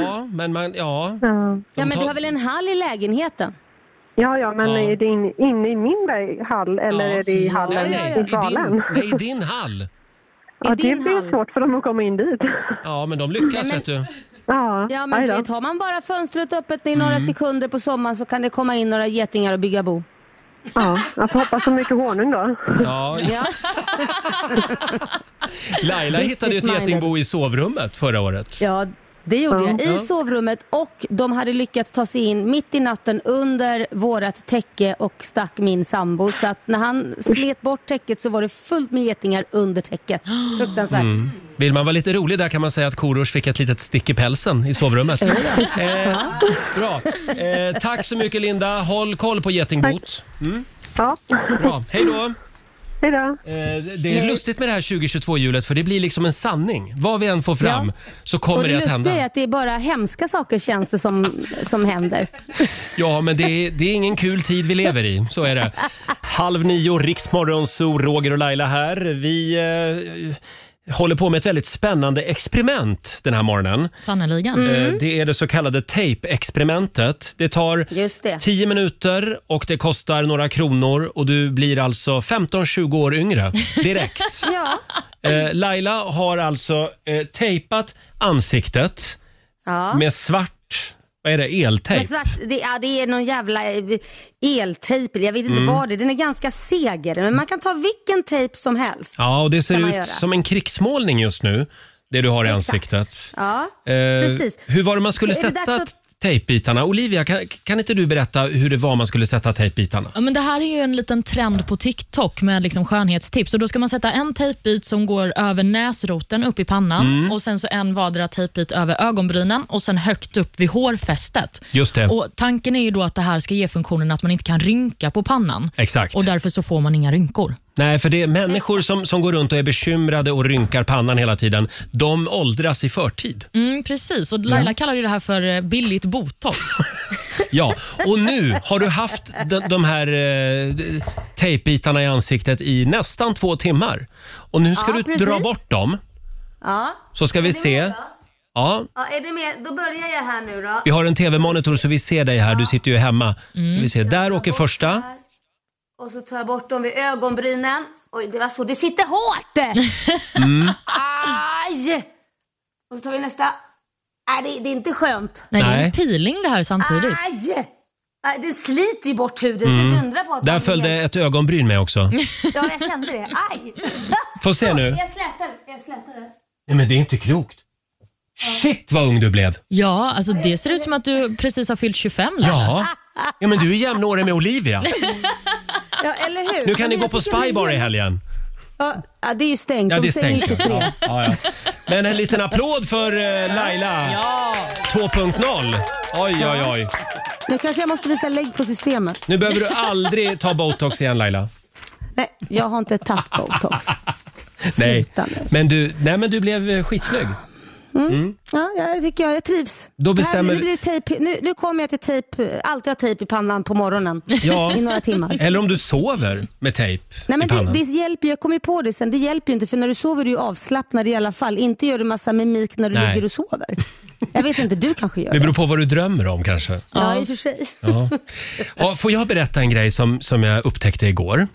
Ja, men man... Ja.
Ja, men
tar-
du har väl en hall i lägenheten?
Ja, ja, men är det in- inne i min berg- hall eller är det i hallen
nej,
i salen?
din, nej, i din hall.
ja, det blir svårt för dem att komma in dit.
Ja, men de lyckas
Nej, men-
vet du.
Ja,
Ja, men
aj
du
då.
vet, har man bara fönstret öppet i
Mm.
några sekunder på sommaren så kan det komma in några getingar och bygga bo.
Ja, jag får hoppas så mycket honung då.
Ja. Laila
Business
hittade ju ett
minded.
getingbo i sovrummet förra året.
Ja, det gjorde
Ja.
jag. I
Ja.
sovrummet och de hade lyckats ta sig in mitt i natten under vårat täcke och stack min sambo. Så att när han slet bort täcket så var det fullt med getingar under täcket. Fruktansvärt.
Mm. Vill man vara lite rolig där kan man säga att Korosh fick ett litet stick i pälsen i sovrummet. eh, bra. Eh, tack så mycket Linda. Håll koll på getingbot. Mm.
Ja.
Bra. Hej då.
Hej då.
Eh, det är lustigt med det här 2022-hjulet för det blir liksom en sanning. Vad vi än får fram
Ja.
så kommer
och
det
det
att
lustiga är
hända.
att det är bara hemska saker känns det som, som händer.
Ja, men det är, det är ingen kul tid vi lever i. Så är det. Halv nio, Riksmorgonzoo, Roger och Laila här. Vi eh, håller på med ett väldigt spännande experiment den här morgonen.
Sannerligen.
Mm.
Eh, Det är det så kallade tape-experimentet. Det tar
Just det.
10 minuter och det kostar några kronor och du blir alltså 15-20 år yngre direkt.
ja.
Eh, Laila har alltså eh, tejpat ansiktet
ja.
med svart, vad är det,
Men
eltejp?
svart, det, ja, det är någon jävla eh, eltejp. Jag vet inte
Mm.
vad det är. Den är ganska seger. Men man kan ta vilken tejp som helst.
Ja, och det ser
Kan man
ut
göra.
som en krigsmålning just nu, det du har i
Exakt.
ansiktet.
Ja,
Eh,
precis.
Hur var det man skulle
Är det
sätta
dags att-
t- Tejpbitarna. Olivia, kan, kan inte du berätta hur det var man skulle sätta tejpbitarna?
Ja, men det här är ju en liten trend på TikTok med liksom skönhetstips. Och då ska man sätta en tejpbit som går över näsroten upp i pannan
Mm.
och sen så en vardera tejpbit över ögonbrynen och sen högt upp vid hårfästet.
Just det.
Och tanken är ju då att det här ska ge funktionen att man inte kan rynka på pannan.
Exakt.
Och därför så får man inga rynkor.
Nej, för det är människor som, som går runt och är bekymrade och rynkar pannan hela tiden. De åldras i förtid.
Mm, precis, och Laila
Ja.
kallar ju det här för eh, billigt botox.
Ja, och nu har du haft de, de här eh, tejpbitarna i ansiktet i nästan två timmar. Och nu ska
Ja,
du
precis.
dra bort dem,
Ja.
så ska vi se. Ja,
ja, är det mer? Då börjar jag här nu då.
vi har en tv-monitor så vi ser dig här. Du sitter ju hemma.
Mm.
Ska Vi ser. Där åker första.
Och så tar jag bort dem vid ögonbrynen. Oj, det var så. Det sitter hårt!
Mm.
Aj! Och så tar vi nästa. Nej, det, det är inte skönt.
Nej, det är en peeling det här samtidigt.
Aj! Nej, det sliter ju bort huden, så
Mm.
inte undra på att
Där
man
följde
ligger-
ett ögonbryn med också.
Ja, jag kände det. Aj!
Få se nu.
Jag slätar, jag slätar.
Nej, men det är inte klokt. Shit vad ung du blev.
Ja, alltså det ser ut som att du precis har fyllt 25 Laila.
Ja. ja, men du är jämnårig med Olivia.
Ja, eller hur?
Nu kan ni
Men
gå
jag
på
tycker det är
Spy Bar i
helt-
helgen.
Ja, ja, det är ju stängt.
Ja,
De
det är
stänger
stängt.
ju till
Ja,
tre.
ja, ja. Men en liten applåd för eh, Laila. 2.0. Oj, oj, oj.
Nu kanske jag måste visa lägg på systemet.
Nu behöver du aldrig ta botox igen Laila.
Nej, jag har inte tagit botox.
Nej, men du, nej, men du blev eh, skitsnygg. Mm.
Ja, jag tycker jag, jag trivs.
Då
det
bestämmer
här, nu, blir det tejp, nu, nu kommer jag till tejp, alltid ha tejp i pannan på morgonen.
Ja.
I några timmar.
Eller om du sover med tejp
Nej, men
i pannan.
det, det hjälper ju. Jag kom ju på det sen. Det hjälper ju inte för när du sover är du ju avslappnad i alla fall. Inte gör du massa mimik när du
Nej.
ligger och sover. Jag vet inte, du kanske gör
Det
det.
beror på vad du drömmer om kanske.
Ja, i och för sig.
Ja. Ja, får jag berätta en grej som, som jag upptäckte igår?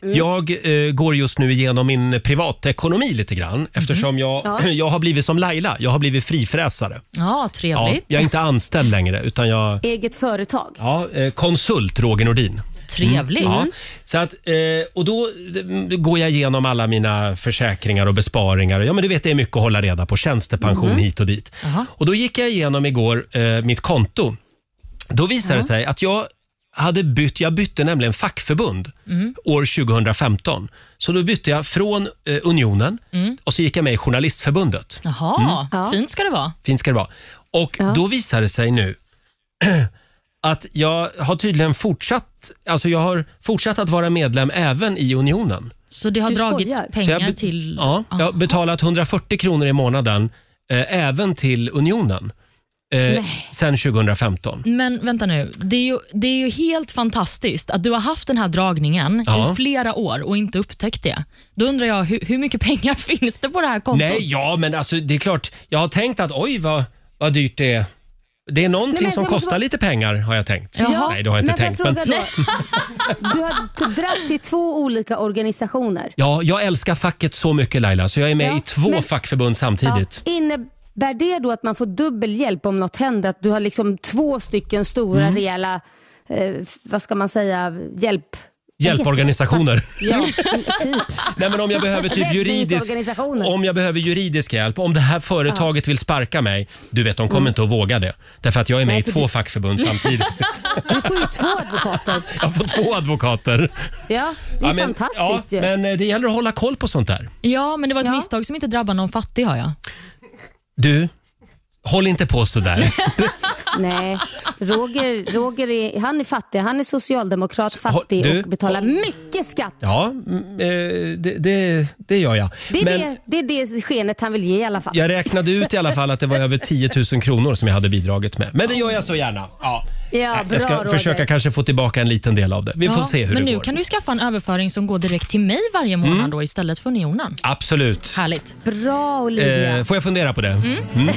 Jag eh, går just nu igenom min privatekonomi lite grann eftersom jag,
Ja.
jag har blivit som Laila. Jag har blivit frifräsare.
Ja,
Ja,
trevligt.
jag är inte anställd längre utan jag
Eget företag.
ja, eh, konsult Roger Nordin.
Trevligt. Mm.
Ja. Så att, eh, och då eh, går jag igenom alla mina försäkringar och besparingar. Ja, men du vet, det är mycket att hålla reda på. Tjänstepension
Mm.
Mhm.
hit och dit. Och då gick jag igenom igår eh, mitt konto. Då visade det sig att jag hade bytt, jag bytte nämligen fackförbund
Mm.
år 2015. Så då bytte jag från eh, Unionen
Mm.
och så gick jag med i Journalistförbundet.
Jaha,
Mm.
fint ska det vara.
Fint ska det vara. Och då visar det sig nu att jag har tydligen fortsatt, alltså jag har fortsatt att vara medlem även i Unionen.
Så det har
Du
dragits
skojar.
Så
pengar
jag be-
till...
Ja, jag har betalat 140 kronor i månaden eh, även till Unionen eh,
Nej.
sen 2015.
Men vänta nu, det är, ju, det är ju helt fantastiskt att du har haft den här dragningen
Ja.
i flera år och inte upptäckt det. Då undrar jag, hur, hur mycket pengar finns det på det här kontot?
Nej, ja, men alltså det är klart, jag har tänkt att oj vad, vad dyrt det är. Det är någonting
Nej, men
som
jag måste
kostar
bara-
lite pengar har jag tänkt.
Jaha.
Nej, det har jag inte
Men
tänkt.
får jag
Men,
fråga då? Du har dragit till två olika organisationer.
ja, jag älskar facket så mycket Laila, så jag är med
Ja,
i två
men-
fackförbund samtidigt.
Ja. Innebär det då att man får dubbel hjälp om något händer? Att du har liksom två stycken stora,
Mm.
rejäla, eh, f- vad ska man säga, hjälp...
Hjälporganisationer.
Ja, typ.
Nej, men om jag behöver typ juridisk,
Räddningsorganisationer.
om jag behöver juridisk hjälp, om det här företaget vill sparka mig, du vet de kommer inte att våga det. Därför att jag är med
Mm. Nej,
i
för
två
du-
fackförbund samtidigt.
Du får ju två advokater.
Jag får två advokater.
Ja, det är
Ja, men, ja,
fantastiskt ju.
men eh, det gäller att hålla koll på sånt där.
Ja, men det var ett misstag som inte drabbar någon fattig har jag.
Du, håll inte på sådär.
Nej, Roger, Roger är, han är fattig. Han är socialdemokrat, fattig
du-
och betalar mycket skatt.
Ja, mm, eh, det, det, det gör jag.
Det är,
Men
det, det är det skenet han vill ge i alla fall.
jag räknade ut i alla fall att det var över 10 000 kronor som jag hade bidragit med. Men det gör jag så gärna. Ja. Eh,
Ja, bra
jag ska
Roger.
försöka kanske få tillbaka en liten del av det. Vi får
Ja,
se hur
Men
det
nu
går.
kan du skaffa en överföring som går direkt till mig varje månad
Mm.
då istället för Unionen.
Absolut.
Härligt.
Bra
Eh, får jag fundera på det? Mm.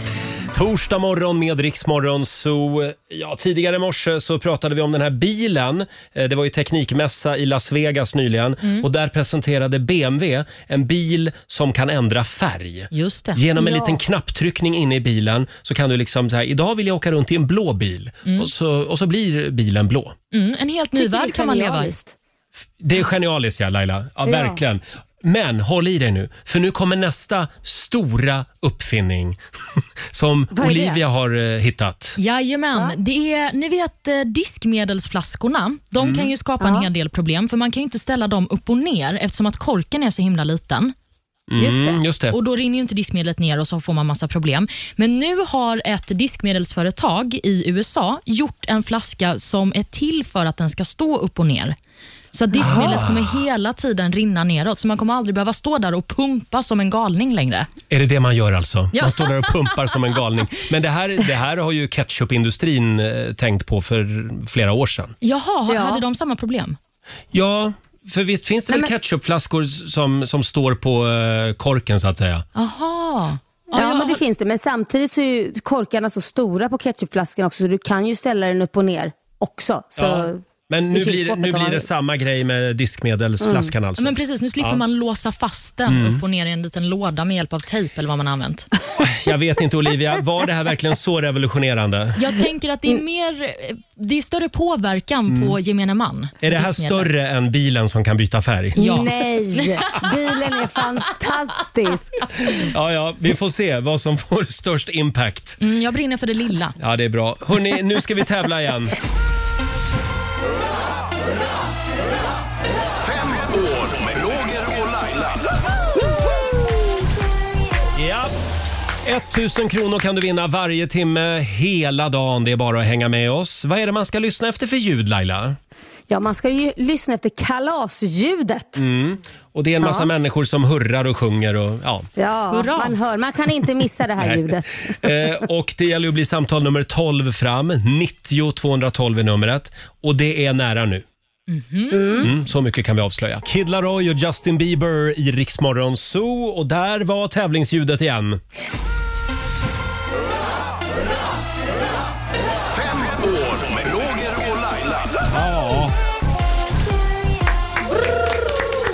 Torsdag morgon med Riksmorgon så ja, tidigare i morse så pratade vi om den här bilen. Eh, Det var ju teknikmässa i Las Vegas nyligen
Mm.
och där presenterade BMW en bil som kan ändra färg.
Just det.
Genom en
Ja.
liten knapptryckning inne i bilen så kan du liksom så här, idag vill jag åka runt i en blå bil och, så, och så blir bilen blå.
Mm, en helt ny
Tycker det är
värld kan man leva i.
genialiskt.
Det är genialiskt ja, Laila. Ja,
Ja.
verkligen. Men håll i dig nu, för nu kommer nästa stora uppfinning som
Vad är det?
Olivia har eh, hittat.
Jajamän. Det är, ni vet eh, diskmedelsflaskorna, de
Mm.
kan ju skapa
Ja.
en hel del problem för man kan ju inte ställa dem upp och ner eftersom att korken är så himla liten.
Mm, Just det. just det.
Och Då rinner ju inte diskmedlet ner och så får man massa problem. Men nu har ett diskmedelsföretag i USA gjort en flaska som är till för att den ska stå upp och ner. Så att diskmedlet
Ah.
kommer hela tiden rinna neråt, så man kommer aldrig behöva stå där och pumpa som en galning längre.
Är det det man gör alltså?
Ja.
Man står där och pumpar som en galning. Men det här, det här har ju ketchupindustrin eh, tänkt på för flera år sedan.
Jaha, ha- hade de samma problem?
Ja, för visst finns det
Nej,
väl
men-
ketchupflaskor som, som står på eh, korken så att säga?
Aha.
Ja, men det finns det. Men samtidigt så är ju korkarna så stora på ketchupflaskan också så du kan ju ställa den upp och ner också. Så
Ja. Men
i
nu blir, det-
kylskåpet
nu
om man
blir det
vill.
samma grej med diskmedelsflaskan alltså.
Mm. Men precis, nu slipper
Ja.
man låsa fast den
Mm.
upp och ner i en liten låda med hjälp av tejp eller vad man har använt.
Jag vet inte Olivia, var det här verkligen så revolutionerande?
Jag tänker att det är, mer, eh, det är större påverkan
Mm.
på gemene man.
Är det här
Diskmedel.
större än bilen som kan byta färg?
Nej, bilen är fantastisk.
Ja, ja, vi får se vad som får störst impact.
Mm, jag brinner för det lilla.
Ja, det är bra. Hörrni, nu ska vi tävla igen.
År med Roger och Laila.
Ja. 1000 kronor kan du vinna varje timme hela dagen. Det är bara att hänga med oss. Vad är det man ska lyssna efter för ljud Laila?
Ja, man ska ju lyssna efter kalasljudet.
Mm. Och det är en massa
Ja.
människor som hurrar och sjunger och ja.
Ja,
Hurra.
man hör. Man kan inte missa det här
Nej.
ljudet.
Eh, och det gäller att bli samtal nummer 12 fram. 90 212 är numret. Och det är nära nu.
Mm-hmm.
Mm, så mycket kan vi avslöja. Kid Laroi och Justin Bieber i Rix Morgon Zoo. Och där var tävlingsljudet igen.
År med Roger och Laila.
Ja.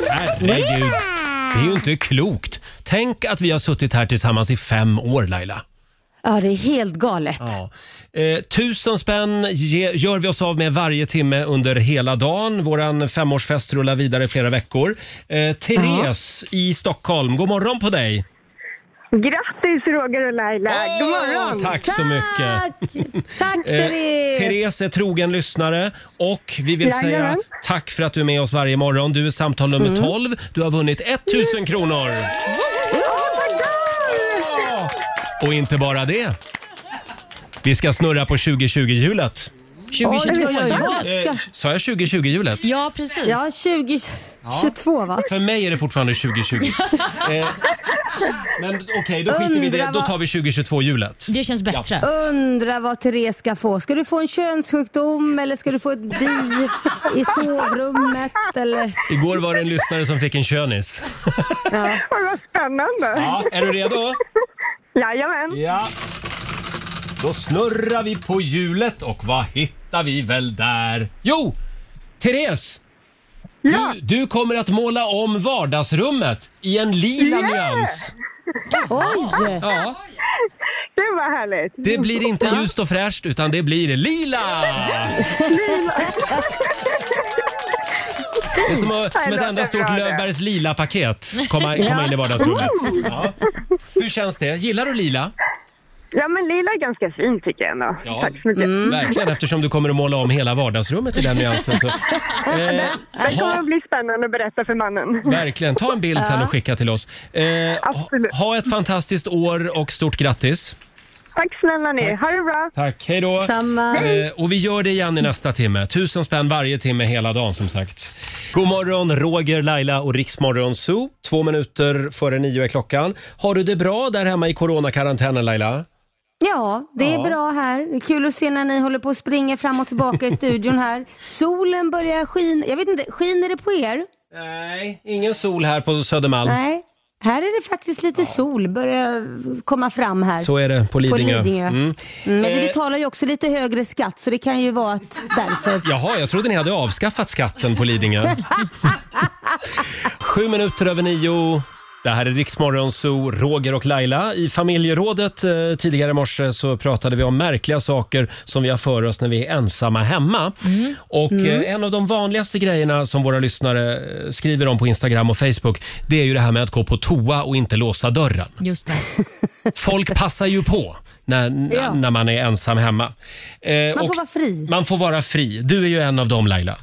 Herregud. Det är ju inte klokt. Tänk att vi har suttit här tillsammans i fem år, Laila.
Ja, det är helt galet.
Ja. Eh, tusen spänn ge, gör vi oss av med varje timme under hela dagen. Vår femårsfest rullar vidare i flera veckor. Eh, Therese i Stockholm, god morgon på dig!
Grattis Roger och Laila! God morgon!
Tack, så mycket!
Tack
Eh, Therese är trogen lyssnare och vi vill säga
Jajamän.
tack för att du är med oss varje morgon. Du är samtal nummer
Mm.
12. Du har vunnit 1000 kronor! Och inte bara det. Vi ska snurra på 2020-hjulet.
2022
Oj, oj, oj.
Vad
Eh,
ska-
Sa jag 2020-hjulet?
Ja, precis.
Ja, 2022 va?
För mig är det fortfarande 2020. Eh, men okej, då skiter vi i det.
Undra
Då
vad-
tar vi 2022-hjulet.
Det känns bättre.
Undra vad Therese ska få. Ska du få en könssjukdom eller ska du få ett bi i sovrummet? Eller?
Igår var det en lyssnare som fick en könis.
Ja.
Vad spännande!
Ja, är du redo?
Jajamän!
Ja. Då snurrar vi på hjulet och vad hittar vi väl där? Jo! Therese! Du, du kommer att måla om vardagsrummet i en lila
Yeah!
nyans.
Oj!
Ja,
Det var härligt!
det blir inte ljust och fräscht utan det blir lila! Det är som, att- som ett enda stort Löfbergs lila-paket komma, komma in i vardagsrummet. Ja. Hur känns det? Gillar du lila?
Ja men lila är ganska fint tycker jag ändå.
Ja,
Tack så mycket.
Mm.
Verkligen, eftersom du kommer att måla om hela vardagsrummet i den nyansen. Så. Eh,
Det kommer
ha,
att bli spännande att berätta för mannen.
verkligen, ta en bild sen och skicka till oss. Eh, ha, ha ett fantastiskt år och stort grattis.
Tack snälla ni, ha det bra!
Tack, hej då.
Samma.
Eh, och vi gör det igen i nästa timme. Tusen spänn varje timme hela dagen som sagt. God morgon, Roger, Laila och Riksmorgon Zoo. Två minuter före nio är klockan. Har du det bra där hemma i coronakarantänen Laila?
Ja, det är
Ja.
bra här. Det är kul att se när ni håller på och springer fram och tillbaka i studion här. Solen börjar skina. Jag vet inte, skiner det på er?
Nej, ingen sol här på Södermalm.
Nej. Här är det faktiskt lite sol börjar komma fram här.
Så är det på Lidingö. Mm.
Mm. Men vi
Eh.
betalar ju också lite högre skatt så det kan ju vara att därför.
Jaha, jag trodde ni hade avskaffat skatten på Lidingö. Sju minuter över nio. Det här är Riksmorgon Zoo, Roger och Laila. I familjerådet eh, tidigare i morse så pratade vi om märkliga saker som vi har för oss när vi är ensamma hemma. Och
Mm.
Eh, en av de vanligaste grejerna som våra lyssnare eh, skriver om på Instagram och Facebook, det är ju det här med att gå på toa och inte låsa dörren.
Just det.
Folk passar ju på när,
Ja.
när man är ensam hemma. Eh,
Man får
och
vara fri.
Man får vara fri. Du är ju en av dem Laila.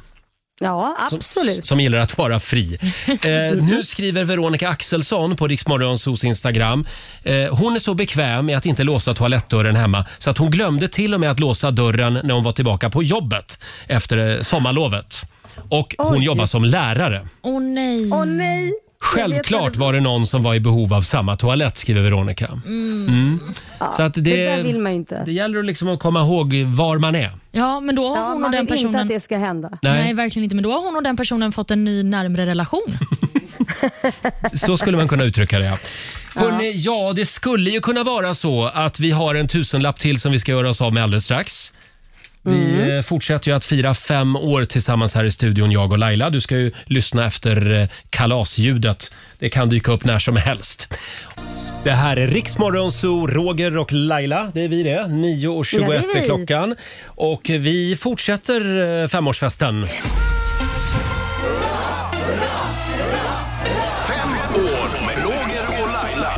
Ja,
Som,
absolut.
som gillar att vara fri. Eh, nu skriver Veronica Axelsson på Riksmorgonsos Instagram. Eh, hon är så bekväm med att inte låsa toalettdörren hemma så att hon glömde till och med att låsa dörren när hon var tillbaka på jobbet efter eh, sommarlovet. Och hon
Oj.
jobbar som lärare.
Åh nej.
Åh nej.
Självklart var det någon som var i behov av samma toalett, skriver Veronica.
Mm.
Mm. Så att det,
det där vill man ju inte.
det gäller att liksom att komma ihåg var man är.
Ja, men då har
Ja,
hon
man
och den
vill inte
personen...
att det ska hända.
Nej.
Nej. verkligen inte. Men då har hon och den personen fått en ny närmre relation.
Så skulle man kunna uttrycka det. Ja. Hörrni, ja, det skulle ju kunna vara så att vi har en tusenlapp till som vi ska göra oss av med alldeles strax. Vi
Mm.
eh, fortsätter ju att fira fem år tillsammans här i studion, jag och Laila. Du ska ju lyssna efter eh, kalasljudet. Det kan dyka upp när som helst. Det här är Riksmorgon Zoo, Roger och Laila. Det är vi det. 9.21
Ja, det är
är
vi.
klockan. Och vi fortsätter eh, femårsfesten.
Fem år med Roger och Laila.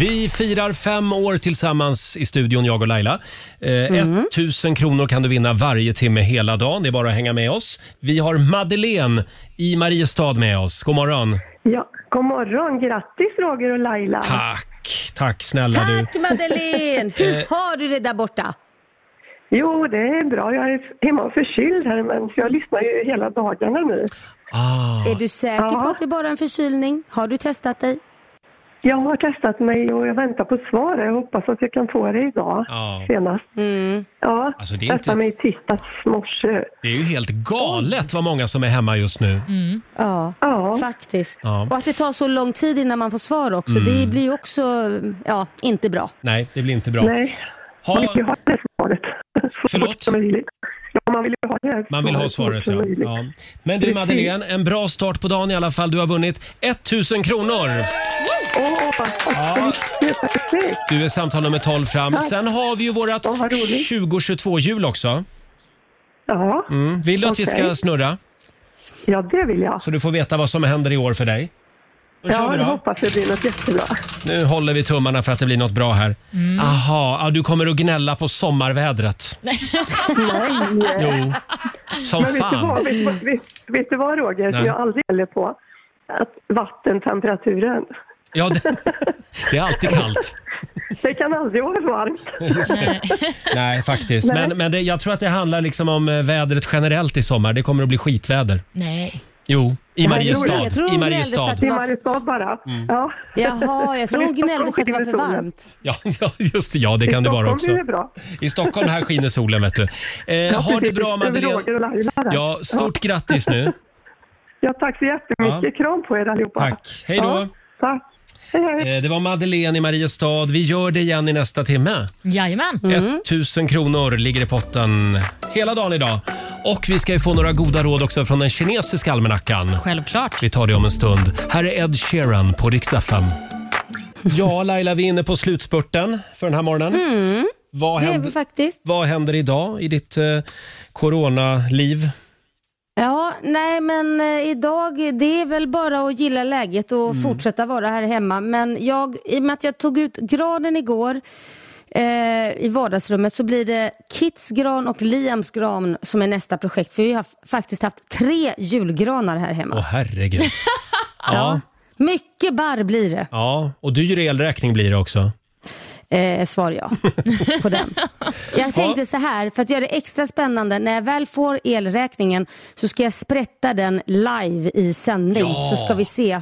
Vi firar fem år tillsammans i studion, jag och Laila. Eh, 1000 kronor kan du vinna varje timme hela dagen. Det är bara att hänga med oss. Vi har Madeleine i Mariestad med oss. God morgon.
Ja, god morgon. Grattis Roger och Laila.
Tack, tack snälla du.
Tack Madeleine!
Eh.
Hur har du det där borta?
Jo, det är bra. Jag är hemma och förkyld här, men så jag lyssnar ju hela dagarna nu.
Ah.
Är du säker på
Ja.
att det bara är en förkylning? Har du testat dig?
Jag har testat mig och jag väntar på svar. Jag hoppas att jag kan få det idag
Ja.
senast. Ja,
Alltså, det är
testade
inte-
mig i tisdags morse.
Det är ju helt galet vad många som är hemma just nu.
Ja, faktiskt.
Ja.
Och att det tar så lång tid innan man får svar också,
Mm.
det blir ju också ja, inte bra.
Nej, det blir inte bra.
Nej.
Ha-
Man vill ju ha det svaret. Så
Förlåt?
fort som möjligt. Ja, man vill ju ha det här
Man vill ha svaret,
så
ja.
fort som möjligt.
ja. Men du Madeleine, en bra start på dagen i alla fall. Du har vunnit 1000 kronor! Ja. Du är samtal nummer 12 fram.
Tack.
Sen har vi ju vårat 2022-hjul också.
Ja.
Mm. Vill du att vi ska
Okej.
snurra?
Ja, det vill jag.
Så du får veta vad som händer i år för dig. Då kör
Ja,
vi
jag
då.
hoppas det blir något jättebra.
Nu håller vi tummarna för att det blir något bra här.
Mm.
Aha, ja, du kommer att gnälla på sommarvädret.
Nej.
Jo, som
Men vet du,
fan.
vad, vet, du vad- vet, vet du vad Roger,
Nej.
som jag aldrig gäller på? Att vattentemperaturen.
Ja, det, det är alltid kallt.
Det kan aldrig vara varmt.
Just det. Nej, faktiskt.
Nej.
Men, men det, jag tror att det handlar liksom om eh, vädret generellt i sommar. Det kommer att bli skitväder.
Nej.
Jo, i
Ja,
Mariestad. I Mariestad.
I Mariestad bara.
Mm.
Ja.
Jaha, jag tror
Men i
hon gnällde för att det
Stockholm
var
skiner
för
solen.
varmt.
Ja, ja, just det. Ja, det kan det vara också.
I Stockholm blir det bra.
I Stockholm här skiner solen, vet du. Eh,
Ja,
har det
precis.
bra,
Över Roger
Madeleine.
och Laila där.
Ja, stort grattis nu.
Ja, tack så jättemycket. Kram på er allihopa.
Tack. Hej då.
Ja, tack. Hej, hej.
Eh, det var Madeleine i Mariestad. Vi gör det igen i nästa timme.
Jajamän.
Mm.
Mm.
1000 kronor ligger i potten hela dagen idag. Och vi ska ju få några goda råd också från den kinesiska almanackan.
Självklart.
Vi tar det om en stund. Här är Ed Sheeran på Rix FM. Ja, Laila, vi är inne på slutspurten för den här morgonen.
Mm.
Vad,
Det är
händer,
vi faktiskt.
vad händer idag i ditt eh, coronaliv?
Ja, nej men eh, idag, det är väl bara att gilla läget och
Mm.
fortsätta vara här hemma. Men jag, i och med att jag tog ut granen igår eh, i vardagsrummet så blir det Kits gran och Liams gran som är nästa projekt. För vi har f- faktiskt haft tre julgranar här hemma.
Åh, herregud. Ja.
Mycket barr blir det,
ja, och dyr elräkning blir det också.
eh, svar jag på den. Jag tänkte så här, för att göra det extra spännande, när jag väl får elräkningen så ska jag sprätta den live i sändning.
Ja. Oh.
Så ska vi se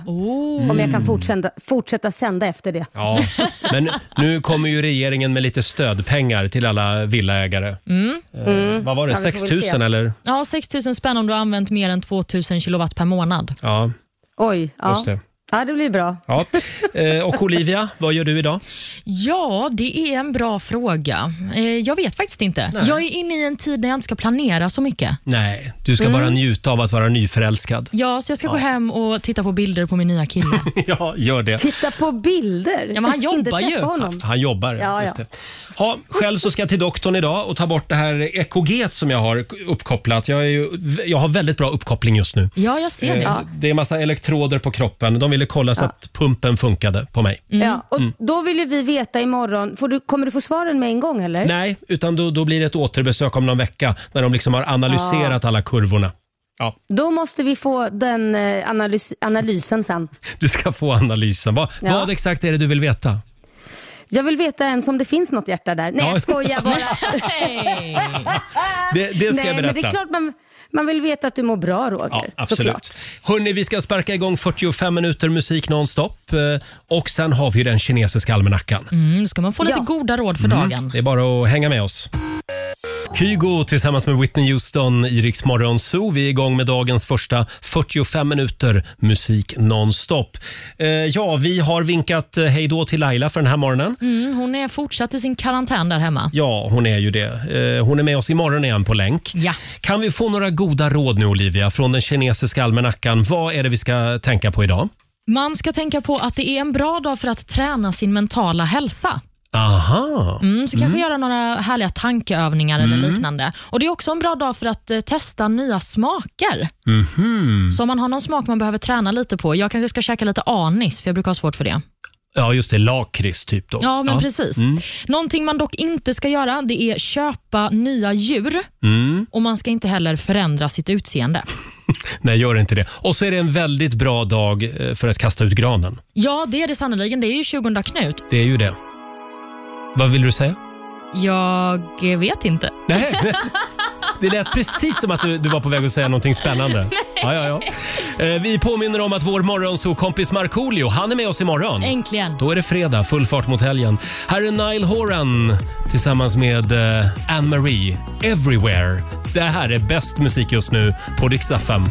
om jag kan fortsätta, fortsätta sända efter det.
Ja, men nu kommer ju regeringen med lite stödpengar till alla villaägare.
Mm.
Eh, Vad var det, 6 000 eller?
Ja, 6 000 spänn om du har använt mer än 2 000 kilowatt per månad.
Ja,
Oj,
just det.
Ja, det blir bra.
Ja. Eh, och Olivia, vad gör du idag?
Ja, det är en bra fråga. Eh, Jag vet faktiskt inte.
Nej.
Jag är inne i en tid när jag inte ska planera så mycket.
Nej, du ska
Mm.
bara njuta av att vara nyförälskad.
Ja, så jag ska gå
Ja.
hem och titta på bilder på min nya kille.
Ja, gör det.
Titta på bilder.
Ja, men han
Inte
jobbar ju.
träffa honom.
Han jobbar,
Ja,
just
ja.
det. Ha, själv så ska jag till doktorn idag och ta bort det här EKG som jag har uppkopplat. Jag, är ju, jag har väldigt bra uppkoppling just nu.
Ja, jag ser det.
Eh, Det är massa elektroder på kroppen. De ville kolla så att pumpen funkade på mig.
Ja, och
Mm.
Då vill ju vi veta imorgon, får du, kommer du få svaren med en gång eller?
Nej, utan då, då blir det ett återbesök om någon vecka när de liksom har
Ah.
analyserat alla kurvorna. Ja,
Då måste vi få den eh, analys, analysen sen.
du ska få analysen. Vad,
Ja.
vad exakt är det du vill veta?
Jag vill veta ens om det finns något hjärta där. Nej,
Ja.
jag skojar bara.
Eh. Det, det ska
Nej,
jag berätta.
men det är klart man, man vill veta att du mår bra Roger.
Ja, absolut.
såklart.
Hörni, vi ska sparka igång 45 minuter musik nonstop. eh, Och sen har vi ju den kinesiska almanackan.
Mm, ska man få lite
Ja.
goda råd för
Mm,
dagen.
Det är bara att hänga med oss. Kygo tillsammans med Whitney Houston i Rix Morgon Zoo. Vi är igång med dagens första 45 minuter musik nonstop. Eh, ja, vi har vinkat eh, hej då till Laila för den här morgonen.
Mm, hon är fortsatt i sin karantän där hemma.
Ja, hon är ju det. Eh, hon är med oss imorgon igen på länk.
Ja.
Kan vi få några goda råd nu Olivia från den kinesiska almanackan? Vad är det vi ska tänka på idag?
Man ska tänka på att det är en bra dag för att träna sin mentala hälsa.
Aha.
Mm, så kanske göra några härliga tankeövningar eller
Mm.
liknande. Och Det är också en bra dag för att eh, testa nya smaker.
Mhm.
Så om man har någon smak man behöver träna lite på, jag kanske ska käka lite anis, för jag brukar ha svårt för det.
Ja, just det. Lakrits typ då.
Ja, men precis.
Mm.
Någonting man dock inte ska göra, det är köpa nya djur
Mm.
och man ska inte heller förändra sitt utseende.
Nej, gör inte det. Och så är det en väldigt bra dag eh, för att kasta ut granen.
Ja, det är det sannerligen. Det är ju 20 Knut.
Det är ju det. Vad vill du säga?
Jag eh, vet inte.
Nej, nej. det lät precis som att du, du var på väg att säga någonting spännande. Ja, ja, ja. Eh, Vi påminner om att vår morgonsokompis Markoolio, han är med oss imorgon.
Äntligen.
Då är det fredag, full fart mot helgen. Här är Nile Horan tillsammans med eh, Anne-Marie, Everywhere. Det här är bäst musik just nu på Dix FM.